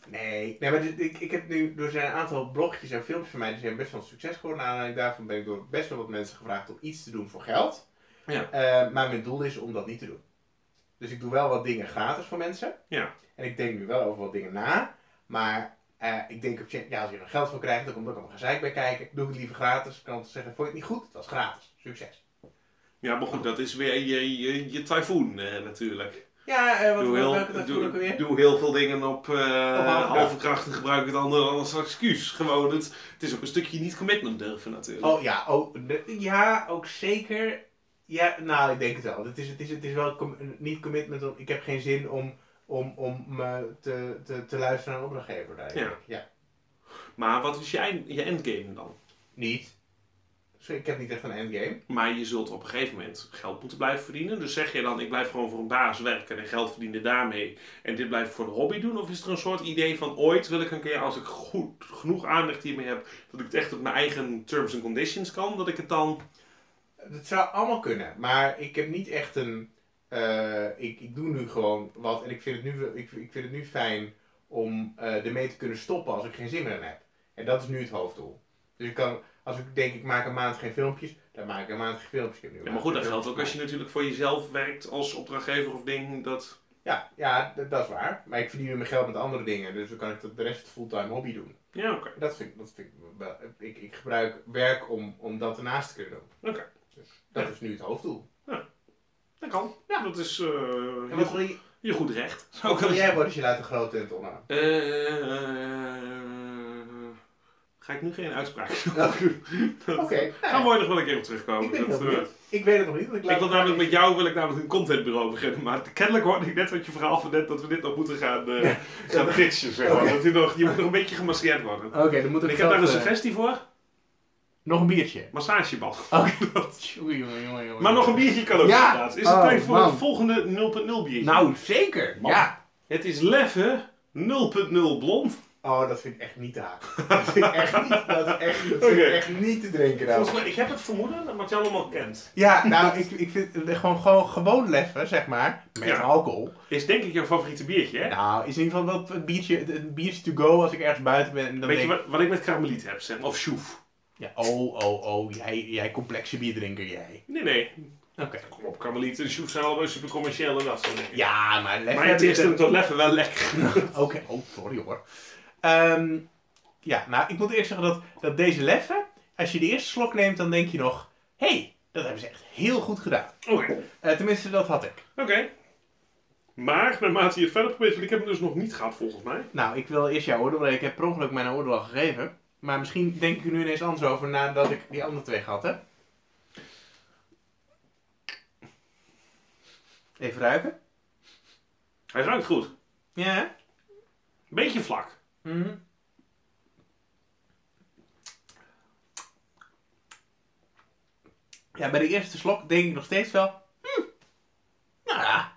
S2: Nee. Nee, maar dit- ik, ik heb nu door zijn aantal blogjes en filmpjes van mij, die zijn best wel een succes geworden. Naar aanleiding daarvan ben ik door best wel wat mensen gevraagd om iets te doen voor geld.
S1: Ja.
S2: Eh, maar mijn doel is om dat niet te doen. Dus ik doe wel wat dingen gratis voor mensen.
S1: Ja.
S2: En ik denk nu wel over wat dingen na. Maar eh, ik denk op zich, ja, als je er geld voor krijgt, dan komt er ook nog gezeik bij kijken. Doe ik het liever gratis. Ik kan altijd zeggen, vond je het niet goed? Het was gratis. Succes.
S1: Ja, maar goed,
S2: Oh.
S1: dat is weer je, je, je tyfoon eh, natuurlijk.
S2: Ja, eh, wat
S1: Doe
S2: wil ik
S1: heel,
S2: dat ook
S1: doe,
S2: weer?
S1: doe heel veel dingen op eh,
S2: halve
S1: halve kracht en gebruik het andere als excuus. Gewoon, het, het is ook een stukje niet commitment durven natuurlijk.
S2: Oh ja, oh, de- ja, ook zeker. Ja, nou, ik denk het wel. Het is, het is, het is wel com- niet commitment. om- Ik heb geen zin om, om, om me te, te, te luisteren naar een opdrachtgever. Daar,
S1: Ja.
S2: ja.
S1: Maar wat is je, eind- je endgame dan?
S2: Niet. Dus ik heb niet echt een endgame.
S1: Maar je zult op een gegeven moment geld moeten blijven verdienen. Dus zeg je dan, ik blijf gewoon voor een baas werken en geld verdienen daarmee. En dit blijf ik voor een hobby doen? Of is er een soort idee van, ooit wil ik een keer, als ik goed, genoeg aandacht hiermee heb, dat ik het echt op mijn eigen terms en conditions kan, dat ik het dan...
S2: Dat zou allemaal kunnen. Maar ik heb niet echt een... eh, ik, ik doe nu gewoon wat. En ik vind het nu, ik, ik vind het nu fijn om eh ermee te kunnen stoppen als ik geen zin meer in heb. En dat is nu het hoofddoel. Dus ik kan... Als ik denk, ik maak een maand geen filmpjes, dan maak ik een maand geen filmpjes. Ik heb nu een
S1: Ja, maar
S2: maand
S1: goed,
S2: geen
S1: dat geldt
S2: filmpjes
S1: ook als je natuurlijk voor jezelf werkt als opdrachtgever of ding. Dat...
S2: Ja, ja d- dat is waar. Maar ik verdien nu mijn geld met andere dingen. Dus dan kan ik dat de rest fulltime hobby doen.
S1: Ja, oké.
S2: Dat vind, ik- dat vind ik, wel- ik... Ik gebruik werk om, om dat ernaast te kunnen doen.
S1: Oké.
S2: Dus dat
S1: Ja.
S2: is nu het hoofddoel.
S1: Dat kan. Ja, dat is eh,
S2: En
S1: je,
S2: wat wil je,
S1: je goed recht. Eh, Zou
S2: wat
S1: ik
S2: wil
S1: wel-
S2: jij worden als je laat een grote tent onderaan?
S1: Eh, eh, ga ik nu geen uitspraak doen.
S2: Oh.
S1: Dat-
S2: Oké,
S1: Gaan we
S2: nou,
S1: ooit nog wel een keer op terugkomen.
S2: ik ben heel
S1: Dat, eh,
S2: benieuwd. Ik weet het nog niet. want
S1: ik wil
S2: laat-
S1: namelijk met jou wil ik namelijk een contentbureau beginnen, maar kennelijk hoorde ik net uit je verhaal van net dat we dit nog moeten gaan, eh gaan fixen, zeg maar.
S2: Oké.
S1: Dat die, nog, die moet nog een beetje gemasseerd worden.
S2: Oké, dan moet
S1: En
S2: ik,
S1: ik heb daar een
S2: zelf, eh,
S1: suggestie voor,
S2: Nog een biertje.
S1: massagebal.
S2: Oké.
S1: Oh,
S2: Tjoe, jongen, jongen, jongen.
S1: Maar nog een biertje kan ook
S2: Ja.
S1: inderdaad. Is het
S2: Oh,
S1: tijd voor
S2: man.
S1: het volgende 0.0 biertje?
S2: Nou, zeker.
S1: Man.
S2: Ja.
S1: Het is Leffe 0.0 blond.
S2: Oh, dat vind ik echt niet te haken. Dat vind ik echt niet, dat is echt, dat vind ik
S1: Oké.
S2: echt niet te drinken. Nou.
S1: Volgens mij, ik heb het vermoeden dat Martjan hem al kent.
S2: Ja, nou, ik, ik vind het gewoon, gewoon, gewoon leffen, zeg maar, met
S1: Ja.
S2: alcohol.
S1: Is denk ik jouw favoriete biertje, hè?
S2: Nou, is in ieder geval wel het biertje, het- het biertje to go als ik ergens buiten ben. En dan
S1: Weet je
S2: denk ik,
S1: wat, wat ik met karameliet heb, zeg maar, Of sjoef.
S2: ja, oh, oh, oh, jij, jij complexe bierdrinker, jij.
S1: Nee, nee.
S2: Oké.
S1: Kom op, karameliet en sjoef zijn allemaal super commercieel en dat soort dingen.
S2: Ja, maar leffen...
S1: Maar het
S2: heb ik
S1: is hem tot Leffe wel lekker.
S2: Oké, oh, sorry hoor. Ehm, ja, nou, ik moet eerst zeggen dat, dat deze leffen, als je de eerste slok neemt, dan denk je nog... Hé, hey, dat hebben ze echt heel goed gedaan.
S1: Oké.
S2: Eh, tenminste, dat had ik.
S1: Oké. Maar, naarmate je het verder probeert, want ik heb hem dus nog niet gehad volgens mij.
S2: Nou, ik wil eerst jouw oordeel, want ik heb per ongeluk mijn oordeel al gegeven. Maar misschien denk ik er nu ineens anders over nadat ik die andere twee gehad heb. Even ruiken.
S1: Hij ruikt goed.
S2: Ja. hè?
S1: Beetje vlak.
S2: Mhm. Ja, bij de eerste slok denk ik nog steeds wel. "Hm, Nou ja.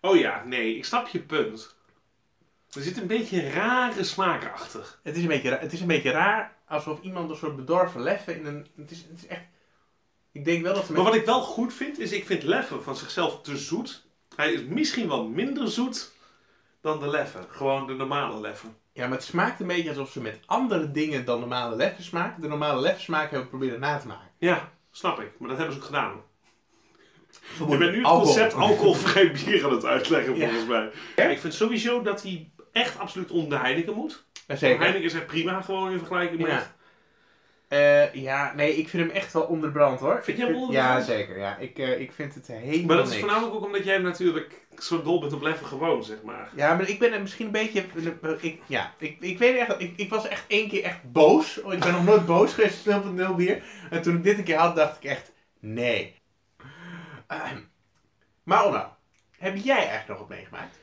S1: Oh ja, nee, ik snap je punt. Er zit een beetje rare smaak achter.
S2: Het is, een beetje raar, het is een beetje raar alsof iemand een soort bedorven leffen in een. Het is, het is echt. Ik denk wel dat ze
S1: Maar
S2: met
S1: wat ik wel goed vind, is ik vind Leffe van zichzelf te zoet. Hij is misschien wel minder zoet dan de Leffe. Gewoon de normale Leffe.
S2: Ja, maar het smaakt een beetje alsof ze met andere dingen dan normale leffensmaak, de normale leffensmaak hebben proberen na te maken.
S1: Ja, snap ik. Maar dat hebben ze ook gedaan. Je
S2: Vermoedelijk.
S1: bent nu het
S2: Alcohol.
S1: concept alcoholvrij bier aan het uitleggen,
S2: Ja.
S1: volgens mij. Ja, ik vind sowieso dat hij echt absoluut onder de Heineken moet.
S2: Ja,
S1: Heineken
S2: Zeker.
S1: is hij prima gewoon in vergelijking met...
S2: Ja. Eh, ja, nee, ik vind hem echt wel onderbrand hoor.
S1: Vind jij hem
S2: Ja,
S1: onderbrand?
S2: zeker. Ja. Ik, eh, ik vind het helemaal
S1: Maar dat is
S2: niks.
S1: voornamelijk ook omdat jij hem natuurlijk zo dol bent op Leffe gewoon, zeg maar.
S2: Ja, maar ik ben er misschien een beetje... Ik, ja, ik, ik weet echt... Ik, ik was echt één keer echt boos. Ik ben nog nooit boos geweest op 0.0 bier. En toen ik dit een keer had, dacht ik echt... Nee. Ehm, maar Onno, heb jij eigenlijk nog wat meegemaakt?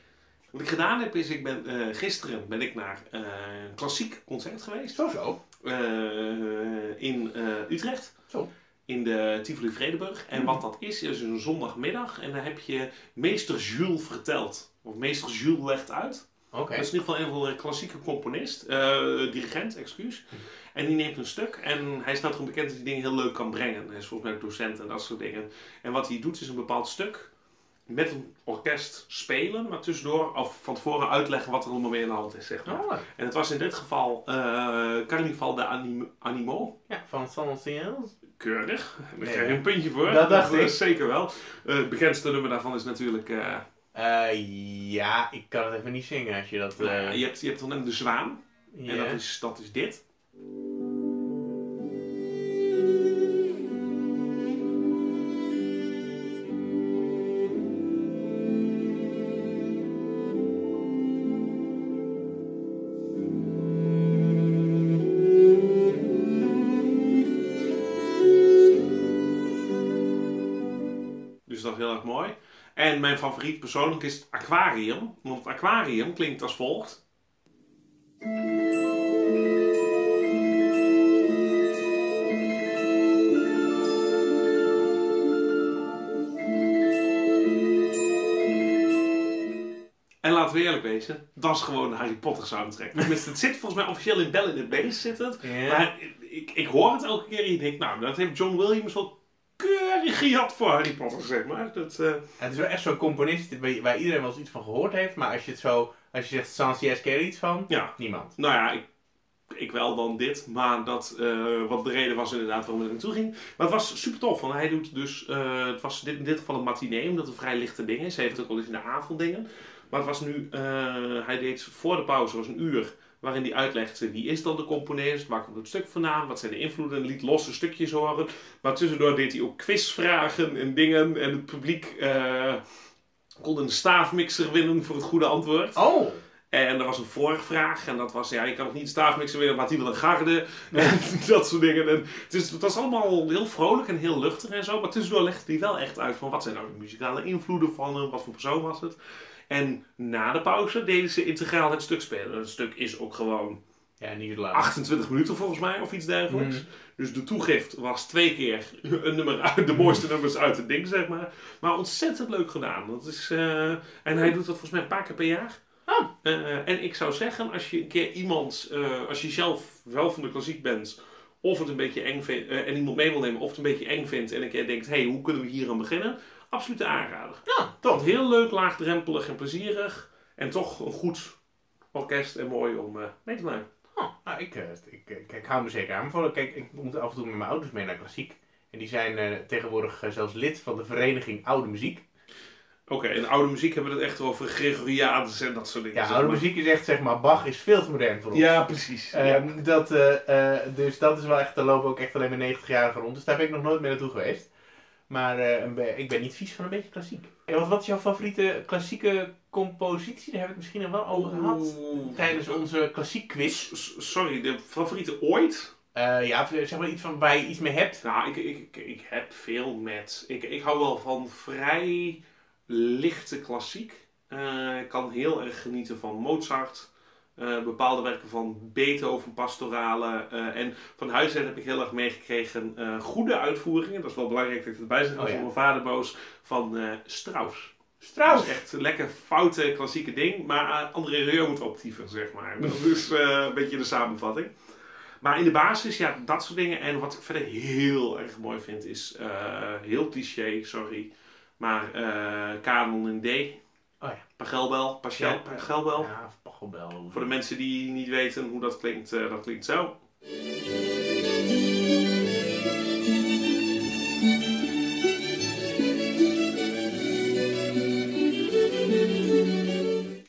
S1: Wat ik gedaan heb is, ik ben, eh, gisteren ben ik naar eh, een klassiek concert geweest.
S2: Zo zo.
S1: eh, in eh, Utrecht.
S2: Zo.
S1: In de Tivoli Vredeburg. En wat dat is, is een zondagmiddag. En daar heb je meester Jules verteld. Of meester Jules legt uit.
S2: Oké.
S1: Dat is in ieder geval een van de klassieke componist. eh, dirigent, excuus. En die neemt een stuk. En hij staat erom bekend dat hij dingen heel leuk kan brengen. Hij is volgens mij ook docent en dat soort dingen. En wat hij doet is een bepaald stuk met een orkest spelen, maar tussendoor of van tevoren uitleggen wat er allemaal mee aan de hand is, zeg maar.
S2: Oh.
S1: En het was in dit geval eh Carnival de Anim- Animo.
S2: Ja, van San Siels.
S1: Keurig. Daar
S2: Nee,
S1: krijg je
S2: hè?
S1: een puntje voor.
S2: Dat dacht
S1: is
S2: ik.
S1: Zeker wel. Eh, het bekendste nummer daarvan is natuurlijk... eh,
S2: ja, ik kan het even niet zingen als je dat... eh,
S1: eh, je, hebt, je hebt dan hem de zwaan.
S2: ja.
S1: En dat is, dat is dit. Dus dat is heel erg mooi. En mijn favoriet persoonlijk is het aquarium. Want het aquarium klinkt als volgt. En laten we eerlijk wezen, dat is gewoon een Harry Potter soundtrack. Tenminste, het zit volgens mij officieel in Bell in the Beast zit het.
S2: Ja.
S1: Maar ik, ik hoor het elke keer en ik denk, nou, dat heeft John Williams wel keurig gejat voor Harry Potter, zeg maar. Dat, eh,
S2: Het is wel echt zo'n componist waar waar iedereen wel eens iets van gehoord heeft, maar als je het zo... Als je zegt San Siels, ken je er iets van?
S1: ja,
S2: Niemand.
S1: nou ja, ik, ik wel dan dit, maar dat, eh, wat de reden was inderdaad waarom ik er naartoe ging. Maar het was super tof, want hij doet dus, eh, het was dit, in dit geval een matinee, omdat het een vrij lichte ding is. Hij heeft ook al eens in de avond dingen. Maar het was nu, eh, hij deed voor de pauze, was een uur, waarin hij uitlegde wie is dan de componist, waar komt het stuk vandaan, wat zijn de invloeden, liet losse stukjes horen. Maar tussendoor deed hij ook quizvragen en dingen en het publiek... eh, kon een staafmixer winnen voor het goede antwoord.
S2: Oh!
S1: Eh, En er was een voorvraag en dat was, ja, je kan nog niet staafmixen winnen, maar die wil een garde. En dat soort dingen. En het, is, het was allemaal heel vrolijk en heel luchtig en zo. Maar tussendoor legde hij wel echt uit van wat zijn nou de muzikale invloeden van hem, wat voor persoon was het. En na de pauze deden ze integraal het stuk spelen. Het stuk is ook gewoon
S2: Ja, niet zo lang.
S1: 28 minuten volgens mij of iets dergelijks. Dus de toegift was twee keer een nummer uit, de mooiste nummers uit het ding, zeg maar. Maar ontzettend leuk gedaan. Dat is, eh, en hij doet dat volgens mij een paar keer per jaar.
S2: Oh.
S1: Eh, en ik zou zeggen, als je een keer iemand, eh, als je zelf wel van de klassiek bent, of het een beetje eng vindt, eh, en iemand mee wil nemen, of het een beetje eng vindt, en een keer denkt, hé, hey, hoe kunnen we hier aan beginnen? Absoluut een aanrader.
S2: Nou,
S1: Want
S2: tof.
S1: heel leuk, laagdrempelig en plezierig. En toch een goed orkest en mooi om eh, mee te maken.
S2: Oh, nou, ik, eh, ik, ik, ik hou me zeker aanbevolen. Kijk, ik moet af en toe met mijn ouders mee naar klassiek. En die zijn eh, tegenwoordig eh, zelfs lid van de vereniging Oude Muziek.
S1: Oké, en oude muziek hebben we het echt over Gregoriaans en dat soort dingen.
S2: Ja,
S1: zeg
S2: oude
S1: maar.
S2: muziek is echt, zeg maar, Bach is veel te modern voor ons.
S1: Ja, precies. ja.
S2: Ehm, dat, eh, eh, dus dat is wel echt, daar lopen ook echt alleen maar 90-jarigen rond. Dus daar ben ik nog nooit mee naartoe geweest. Maar eh, een be- ik ben niet vies van een beetje klassiek. En wat, wat is jouw favoriete klassieke compositie? Daar hebben we het misschien nog wel over gehad.
S1: Oeh.
S2: Tijdens onze klassiek quiz.
S1: S- Sorry, de favoriete ooit?
S2: Eh, ja, zeg maar iets van waar je iets mee hebt.
S1: Nou, ik, ik, ik, ik heb veel met. Ik, ik hou wel van vrij lichte klassiek. Eh, Ik kan heel erg genieten van Mozart. eh, bepaalde werken van Beethoven, pastorale. eh, en van huis uit heb ik heel erg meegekregen eh, goede uitvoeringen. Dat is wel belangrijk dat ik erbij zeg,
S2: Oh,
S1: als
S2: ja.
S1: mijn vader boos. Van eh, Strauss. Dat
S2: Strauss.
S1: is echt een lekker foute klassieke ding, maar eh, André Rieu moet optieven, zeg maar. Dat is eh, een beetje de samenvatting. Maar in de basis, ja, dat soort dingen. En wat ik verder heel erg mooi vind, is eh, heel cliché, sorry. Maar eh Canon in D.
S2: Oh ja.
S1: Pagelbel, Paschel,
S2: Ja.
S1: Pagelbel.
S2: Ja, of Pachelbel.
S1: Voor de mensen die niet weten hoe dat klinkt, eh, dat klinkt zo.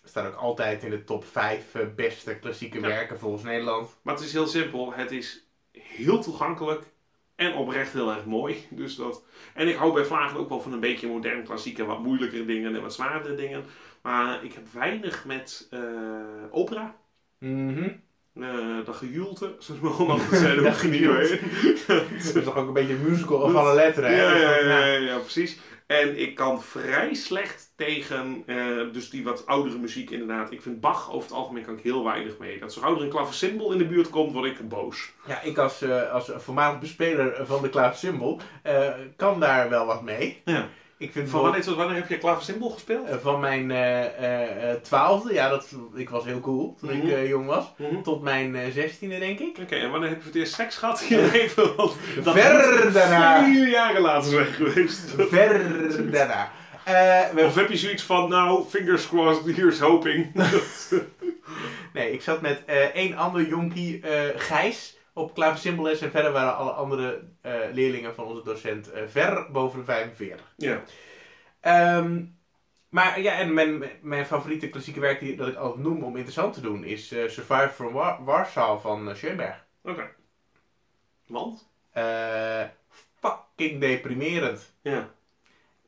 S2: Staat ook altijd in de top 5 beste klassieke werken volgens Nederland.
S1: Maar het is heel simpel. Het is heel toegankelijk en oprecht heel erg mooi. Dus dat... En ik hou bij Vlagen ook wel van een beetje modern klassiek en wat moeilijkere dingen en wat zwaardere dingen. Maar ik heb weinig met eh, opera.
S2: Mhm.
S1: Eh dat gejoelte, zoals we allemaal altijd zeiden,
S2: Dat
S1: hoef ik niet doorheen.
S2: Dat is toch ook een beetje een musical of alle letteren.
S1: ja,
S2: hè?
S1: ja,
S2: Dus dat-
S1: ja, ja, ja, precies. En ik kan vrij slecht tegen, eh, dus die wat oudere muziek inderdaad. Ik vind Bach over het algemeen kan ik heel weinig mee. Dat zo gauw er een klaversymbol in de buurt komt, word ik boos.
S2: Ja, ik als, eh, als voormalig bespeler van de klaversymbol eh kan daar wel wat mee.
S1: Ja.
S2: Ik vind
S1: Van
S2: wel-
S1: wanneer tot wanneer heb je klaversymbol gespeeld?
S2: eh, van mijn eh, eh, eh, twaalfde, ja, dat, ik was heel cool toen
S1: Mhm.
S2: ik eh, jong was,
S1: Mhm.
S2: tot mijn eh, zestiende denk ik.
S1: Oké, en wanneer heb je voor het eerst seks gehad in je leven? Want dat
S2: Ver
S1: moet
S2: daarna.
S1: Vier jaren later zijn geweest.
S2: Ver daarna. Eh, we
S1: Of heb je zoiets van, nou, fingers crossed, here's hoping.
S2: Nee, ik zat met eh, één ander jonkie, eh, Gijs, op klaversymboles. En verder waren alle andere eh, leerlingen van onze docent eh, ver boven de 45.
S1: ja.
S2: Ehm, maar ja, en mijn, mijn favoriete klassieke werk die, dat ik altijd noem om interessant te doen is eh, Survive from Wa- Warsaw van eh, Schoenberg.
S1: Oké. Want?
S2: Eh, fucking deprimerend.
S1: Ja.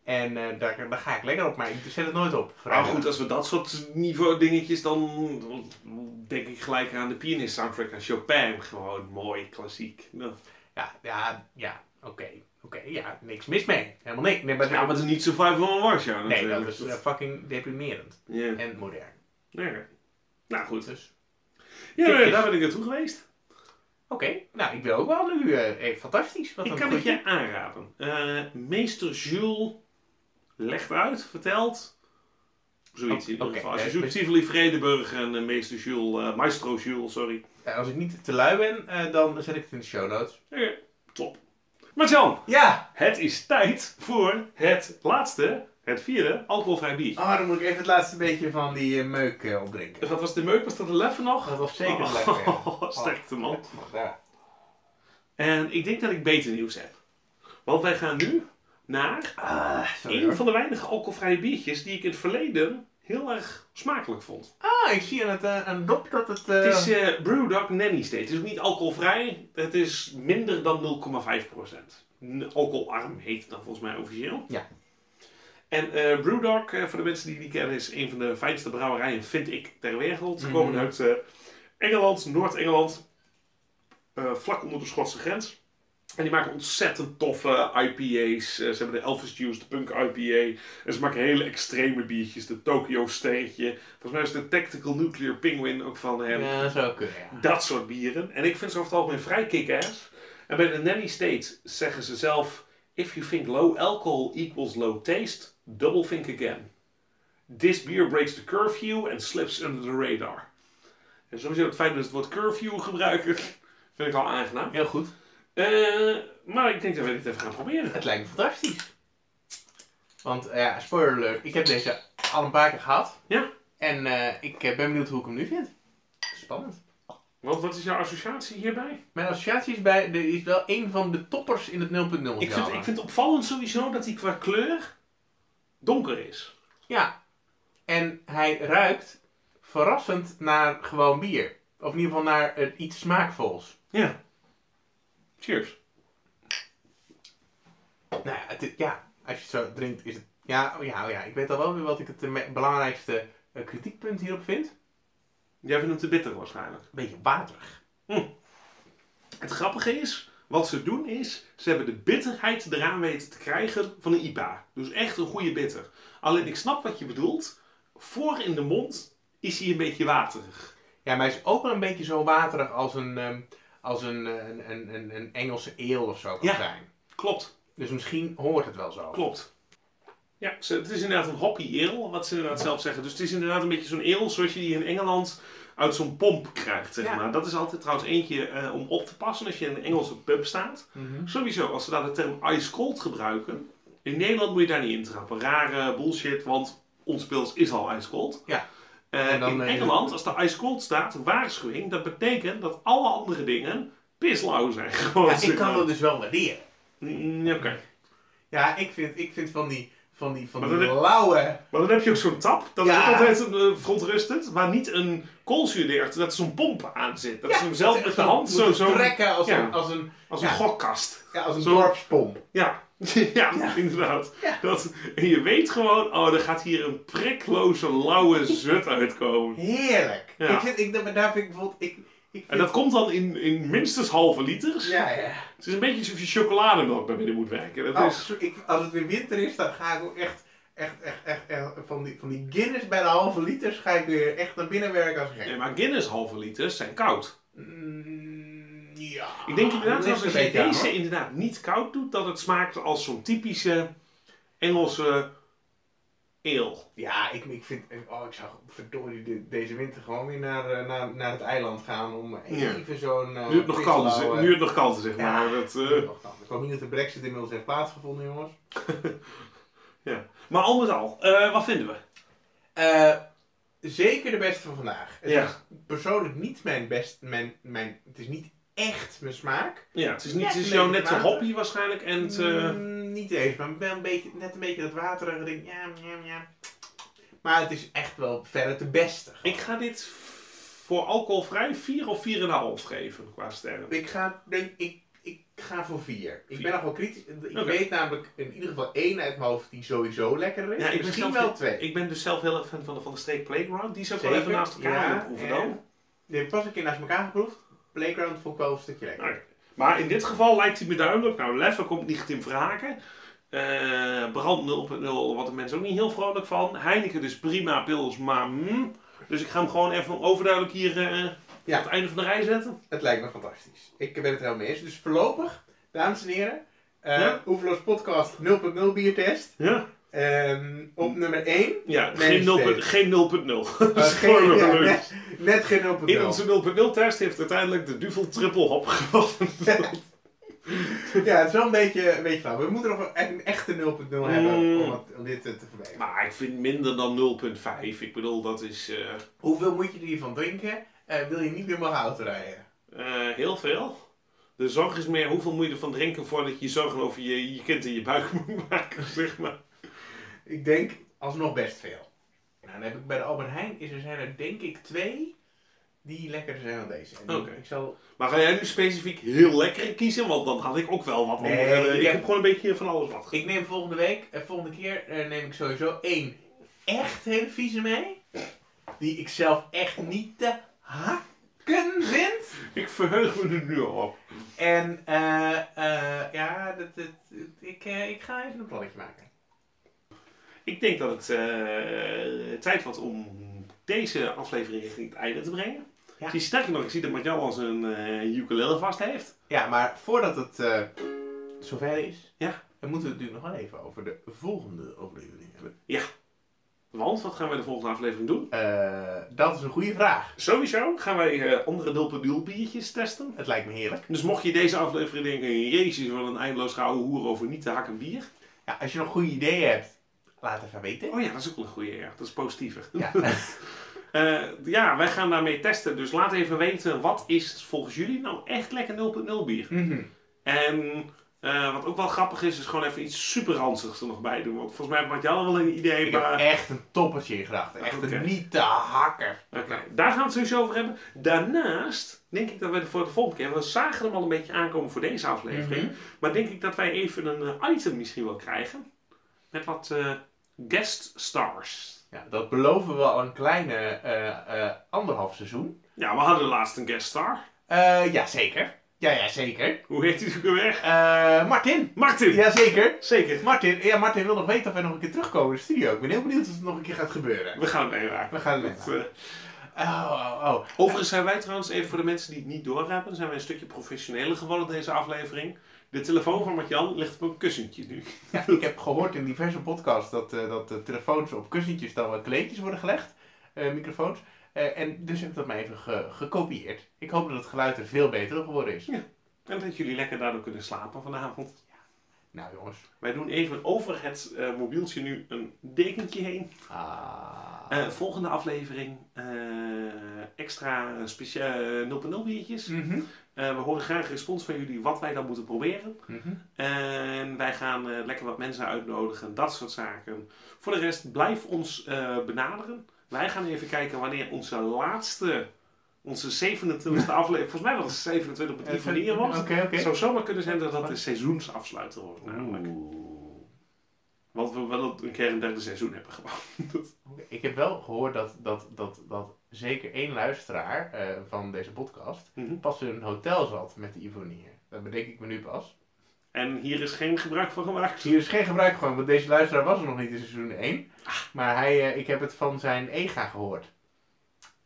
S2: En eh, daar, daar ga ik lekker op, maar ik zet het nooit op.
S1: Maar
S2: vrijwel.
S1: Nou goed, als we dat soort niveau dingetjes, dan denk ik gelijk aan de pianist soundtrack aan Chopin. Gewoon mooi, klassiek. Ja,
S2: Ja, ja, ja, oké. Oké, ja, niks mis mee. Helemaal niks. Nee, maar,
S1: Ja, maar het is niet Survival van Warschau
S2: nee,
S1: natuurlijk.
S2: dat is eh, fucking deprimerend.
S1: Ja.
S2: En modern.
S1: Nee. Nou goed.
S2: Dus,
S1: Ja,
S2: Kijk
S1: nee,
S2: eens.
S1: daar ben ik naartoe geweest.
S2: oké. Nou, ik wil ook wel nu. eh, eh, fantastisch. Wat
S1: Ik
S2: een
S1: kan het
S2: goeie.
S1: je aanraden. Eh, Meester Jules legt uit, vertelt. Zoiets in ieder
S2: Oké,
S1: geval. Als je
S2: eh,
S1: zoekt, Tivoli Vredenburg en eh, Meester Jules, eh, Maestro Jules, sorry.
S2: Eh, Als ik niet te lui ben, eh, dan zet ik het in de show notes.
S1: Eh, top. Maar Jan,
S2: Ja!
S1: het is tijd voor het laatste, het vierde, alcoholvrij bier.
S2: Oh, dan moet ik even het laatste beetje van die eh, meuk eh, opdrinken.
S1: Wat was de meuk? Was Ah. Dus dat de leffe nog?
S2: Dat was zeker
S1: oh,
S2: lekker.
S1: Sterkte man.
S2: Oh. Ja.
S1: En ik denk dat ik beter nieuws heb. Want wij gaan nu naar
S2: Ah, sorry
S1: een
S2: hoor.
S1: van de weinige alcoholvrije biertjes die ik in het verleden heel erg smakelijk vond.
S2: Ah, ik zie aan het, eh, aan het dop dat het... eh,
S1: Het is eh Brewdog Nanny State. Het is ook niet alcoholvrij. Het is minder dan 0,5%. N- Alcoholarm heet het dan volgens mij officieel.
S2: Ja.
S1: En eh Brewdog, eh, voor de mensen die die kennen, is een van de fijnste brouwerijen, vind ik, ter wereld. Ze
S2: Mhm.
S1: komen uit eh, Engeland, Noord-Engeland, eh, vlak onder de Schotse grens. En die maken ontzettend toffe IPA's. Eh, ze hebben de Elvis Juice, de Punk IPA. En ze maken hele extreme biertjes. De Tokyo Sterretje. Volgens mij is de Tactical Nuclear Penguin ook van eh, hem.
S2: Ja, dat zou kunnen, ja.
S1: Dat soort bieren. En ik vind ze over het algemeen vrij kick-ass. En bij de Nanny State zeggen ze zelf... If you think low alcohol equals low taste, double think again. This beer breaks the curfew and slips under the radar. En sowieso het feit dat ze het woord curfew gebruiken, vind ik al aangenaam.
S2: Heel goed.
S1: Eh, maar ik denk dat we dit even gaan proberen.
S2: Het lijkt me fantastisch. Want, eh, ja, spoiler alert. Ik heb deze al een paar keer gehad.
S1: Ja,
S2: En eh, ik eh, ben benieuwd hoe ik hem nu vind. Spannend.
S1: want wat is jouw associatie hierbij?
S2: Mijn associatie is, bij, de, is wel een van de toppers in het 0.0
S1: Ik vind,
S2: genre.
S1: ik vind het opvallend sowieso dat hij qua kleur donker is.
S2: Ja. En hij ruikt verrassend naar gewoon bier. Of in ieder geval naar eh, iets smaakvols.
S1: Ja. Cheers.
S2: Nou ja, het is- ja, als je het zo drinkt is het... Ja, oh ja, oh ja, ik weet al wel weer wat ik het eh, me- belangrijkste eh, kritiekpunt hierop vind. Een
S1: Jij vindt hem te bitter waarschijnlijk.
S2: beetje waterig.
S1: Het grappige is, wat ze doen is, ze hebben de bitterheid eraan weten te krijgen van een IPA. Dus echt een goede bitter. Alleen ik snap wat je bedoelt. Voor in de mond is hij een beetje waterig.
S2: Ja, maar hij is ook wel een beetje zo waterig als een, ehm, als een, eh, een, een, een, een Engelse eel of zo kan
S1: Ja.
S2: zijn.
S1: Klopt,
S2: Dus misschien hoort het wel zo.
S1: klopt. Ja, ze- het is inderdaad een hoppy ale, wat ze inderdaad zelf zeggen. Dus het is inderdaad een beetje zo'n ale zoals je die in Engeland uit zo'n pomp krijgt, zeg
S2: Ja.
S1: maar. Dat is altijd trouwens eentje eh, om op te passen als je in een Engelse pub staat.
S2: Mhm.
S1: Sowieso, als ze daar de term ice cold gebruiken, in Nederland moet je daar niet intrappen. Rare bullshit, want ons pils is al ice cold.
S2: Ja.
S1: Eh,
S2: En dan,
S1: in
S2: eh,
S1: Engeland, als daar ice cold staat, een waarschuwing, dat betekent dat alle andere dingen pislauw zijn. Gewoon,
S2: Ja, ik
S1: zeg
S2: kan
S1: maar.
S2: dat dus wel waarderen.
S1: Mm, Oké.
S2: Ja, ik vind, ik vind van die, van die, van
S1: Maar
S2: die
S1: dat-
S2: lauwe...
S1: Maar dan heb je ook zo'n tap, dat is
S2: Ja.
S1: ook altijd een eh, verontrustend, waar niet een koolzuurdeert, dat er zo'n pomp aan zit. Dat ze hem zelf met de hand zo,
S2: moeten
S1: zo
S2: trekken als
S1: ja.
S2: een, als een,
S1: als een
S2: ja.
S1: gokkast.
S2: ja, als een
S1: Zo-
S2: dorpspomp.
S1: Ja, ja, inderdaad. Dat, en je weet gewoon, oh, er gaat hier een prikloze, lauwe zut uitkomen.
S2: Heerlijk.
S1: Ja.
S2: Ik vind, ik, daar vind ik bijvoorbeeld... Ik, ik
S1: En
S2: vind,
S1: dat komt dan in, in minstens halve liters.
S2: ja, ja.
S1: Het is een beetje alsof je chocolademelk naar binnen moet werken. Dat
S2: Als,
S1: is,
S2: ik, als het weer winter is, dan ga ik ook echt, echt, echt, echt, echt van, die, van die Guinness bij de halve liters ga ik weer echt naar binnen werken als gek.
S1: nee, maar Guinness halve liters zijn koud.
S2: Mm, ja.
S1: Ik denk inderdaad
S2: Dat
S1: dat
S2: is
S1: als
S2: een
S1: je
S2: beetje aan,
S1: deze
S2: hoor.
S1: inderdaad niet koud doet, dat het smaakt als zo'n typische Engelse eel.
S2: Ja, ik, ik vind... Oh, ik zou verdorie de- deze winter gewoon weer naar, eh, naar, naar het eiland gaan om even zo'n... eh,
S1: Nu het nog kan,
S2: pislauwe-
S1: nu het nog kan, zeg
S2: Ja,
S1: maar. Dat,
S2: nu
S1: eh,
S2: het nog kan. Ik hoop niet dat de brexit inmiddels heeft plaatsgevonden, jongens.
S1: Ja. Maar al met al, eh, wat vinden we?
S2: Eh, zeker de beste van vandaag. Het
S1: Ja.
S2: is persoonlijk niet mijn best, mijn, mijn, het is niet echt mijn smaak.
S1: Ja, het is, niet,
S2: Net
S1: het is
S2: een
S1: jouw
S2: beetje
S1: nette
S2: water.
S1: hobby waarschijnlijk. En het, eh,
S2: Mm, niet eens, maar wel een beetje, net een beetje dat waterige ding. Ja, ja, ja. Maar het is echt wel verder de beste.
S1: ik ga dit voor alcoholvrij 4 of 4,5 geven qua sterren.
S2: Ik ga, denk, ik, ik ga voor vier. Ik
S1: Vier.
S2: ben nog wel kritisch. Ik
S1: Oké.
S2: weet namelijk in ieder geval één uit mijn hoofd die sowieso lekker is.
S1: Ja, ik ben
S2: Misschien
S1: zelf-
S2: wel twee.
S1: Ik ben dus zelf heel erg fan van de Van de Steek Playground. Die zou ik wel
S2: Zeker,
S1: even naast elkaar
S2: ja,
S1: willen proeven dan.
S2: en- Die heb ik pas een keer naast elkaar geproefd. Playground vond ik wel een stukje lekker.
S1: Nou, maar in dit geval lijkt hij me duidelijk. Nou, Leffe komt niet in vragen. Eh brand 0.0, wat de mensen ook niet heel vrolijk van. Heineken dus prima, pils, maar mm. Dus ik ga hem gewoon even overduidelijk hier eh,
S2: Ja.
S1: op het einde van de rij zetten.
S2: Het lijkt me fantastisch. Ik ben het er helemaal mee eens. Dus voorlopig, dames en heren, eh
S1: Ja.
S2: Oeverloos Podcast 0.0 biertest.
S1: Ja,
S2: Ehm, op
S1: Hm.
S2: nummer 1.
S1: ja
S2: Nee,
S1: geen 0.0.
S2: steeds.
S1: Geen 0.0. Dat is
S2: geen-
S1: gewoon
S2: ja,
S1: leuk.
S2: net, net geen 0.0.
S1: In onze 0.0 test heeft uiteindelijk de Duvel triple hop gewonnen.
S2: ja, het is wel een beetje, een beetje flauw. We moeten nog een, een echte 0.0 hebben om,
S1: Mm.
S2: het- om dit eh, te verwerken.
S1: Maar ik vind minder dan 0.5. Ik bedoel, dat is eh,
S2: Hoeveel moet je er hiervan drinken? Eh, wil je niet meer mogen auto rijden?
S1: eh, heel veel. De zorg is meer hoeveel moet je ervan drinken voordat je zorgen over je, je kind in je buik moet maken, zeg maar.
S2: Ik denk alsnog best veel. Nou, dan heb ik bij de Albert Heijn is er zijn er denk ik twee die lekkerder zijn dan deze. En die-
S1: Oké.
S2: Ik zal
S1: Maar ga jij nu specifiek heel lekker kiezen? Want dan had ik ook wel wat.
S2: Nee,
S1: andere- eh, ik
S2: ik heb-
S1: heb gewoon een beetje van alles wat.
S2: Ik neem volgende week, eh, volgende keer eh, neem ik sowieso één echt hele vieze mee. Die ik zelf echt niet te hakken vind.
S1: Ik verheug me er nu al op.
S2: En eh, eh, ja, dat, dat, ik, eh, ik ga even een plannetje maken.
S1: Ik denk dat het eh, tijd wordt om deze aflevering richting het einde te brengen.
S2: Ja.
S1: Ik zie sterker nog, ik zie dat Marjan al zijn eh, ukulele vast heeft.
S2: Ja, maar voordat het eh, zover is,
S1: Ja.
S2: dan moeten we het natuurlijk nog wel even over de volgende aflevering hebben.
S1: Want, wat gaan wij de volgende aflevering doen?
S2: Eh, dat is een goede vraag.
S1: Sowieso gaan wij eh, andere 0.0 biertjes testen.
S2: Het lijkt me heerlijk.
S1: Dus mocht je deze aflevering denken, jezus, wat een eindeloos gouden hoer over niet te hakken bier.
S2: Ja, als je nog goede ideeën hebt, laat even weten.
S1: Oh ja, dat is ook wel een goede, ja. Dat is positiever.
S2: Ja.
S1: Eh, ja, wij gaan daarmee testen. Dus laat even weten, wat is volgens jullie nou echt lekker 0.0 bier?
S2: Mhm.
S1: En eh, wat ook wel grappig is, is gewoon even iets super ranzigs er nog bij doen. Want volgens mij had Jan al wel een idee,
S2: Ik
S1: maar...
S2: heb echt een toppertje in gedachten. Echt
S1: Oké.
S2: een niet te hakken.
S1: Oké, daar gaan we het sowieso over hebben. Daarnaast denk ik dat we voor de volgende keer, we zagen hem al een beetje aankomen voor deze aflevering,
S2: Mhm.
S1: maar denk ik dat wij even een eh, item misschien wel krijgen met wat eh, guest stars.
S2: Ja, dat beloven we al een kleine eh, eh, anderhalf seizoen.
S1: Ja, we hadden laatst een guest star.
S2: Eh ja, zeker. Ja, ja, zeker.
S1: Hoe heet die ook alweer?
S2: Eh, Martin.
S1: Martin!
S2: Jazeker.
S1: Zeker.
S2: Martin. Ja, Martin wil nog weten of wij nog een keer terugkomen in de studio. Ik ben heel benieuwd of het nog een keer gaat gebeuren.
S1: We gaan het meemaken.
S2: We gaan het
S1: Dat,
S2: meemaken.
S1: eh,
S2: Oh, oh, oh.
S1: Overigens zijn wij trouwens, even voor de mensen die het niet doorhebben, zijn wij een stukje professioneler geworden deze aflevering. De telefoon van Martjan ligt op een kussentje nu.
S2: Ja, ik heb gehoord in diverse podcasts dat, eh, dat de telefoons op kussentjes dan wel kleedjes worden gelegd. eh, microfoons. Eh, en dus heb ik dat maar even ge- gekopieerd. Ik hoop dat het geluid er veel beter op geworden is.
S1: En dat jullie lekker daardoor kunnen slapen vanavond.
S2: Nou jongens.
S1: Wij doen even over het eh, mobieltje nu een dekentje heen.
S2: Ah.
S1: Eh, volgende aflevering eh, extra speciaal 0.0 biertjes.
S2: Mhm.
S1: Eh, we horen graag respons van jullie wat wij dan moeten proberen.
S2: Mhm.
S1: En wij gaan eh, lekker wat mensen uitnodigen, dat soort zaken. Voor de rest, blijf ons eh, benaderen. Wij gaan even kijken wanneer onze laatste, onze 27e aflevering, volgens mij was het 27 op die manier was.
S2: Oké, oké.
S1: Het zou zomaar kunnen zijn dat dat de seizoensafsluiter wordt namelijk. Want we wel een keer een derde seizoen hebben gewoon. Dat-
S2: Oké, Ik heb wel gehoord dat, dat, dat, dat zeker één luisteraar eh, van deze podcast
S1: Mhm.
S2: pas in een hotel zat met de Ivonier. Dat bedenk ik me nu pas.
S1: En hier is geen gebruik van gemaakt.
S2: Hier is geen gebruik van, want deze luisteraar was er nog niet in seizoen 1. Maar hij, eh, ik heb het van zijn EGA gehoord.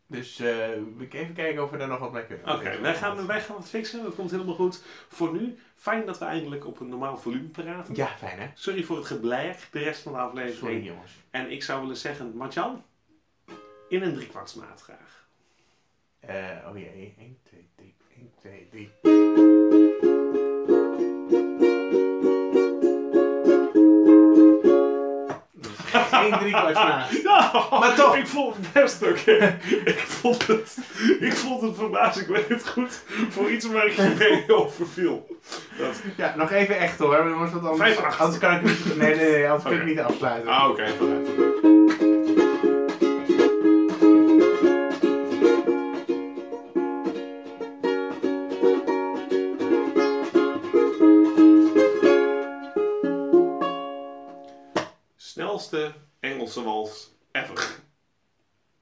S2: Dus eh, ik even kijken of we daar nog wat mee kunnen.
S1: Oké, wij, gaan, wij gaan het fixen. Dat komt helemaal goed. Voor nu, fijn dat we eindelijk op een normaal volume praten.
S2: Ja, fijn hè?
S1: Sorry voor het geblær de rest van de aflevering.
S2: Sorry jongens.
S1: En ik zou willen zeggen, Martjan, in een driekwartsmaat graag.
S2: Eh, oh jee, 1, 2, 3, 1, 2, 3. ging driekwarts na.
S1: Ja,
S2: Ah. Maar toch.
S1: Ik vond het best oké. Ik vond het, ik vond het verbazingwekkend goed voor iets waar ik je mee over viel. Dat.
S2: Ja, nog even echt hoor, jongens, want anders,
S1: 5-8.
S2: anders kan ik niet... Nee, nee, nee, anders kan
S1: Oké.
S2: ik niet afsluiten.
S1: Ah, oké, vooruit. Snelste Engelse wals ever.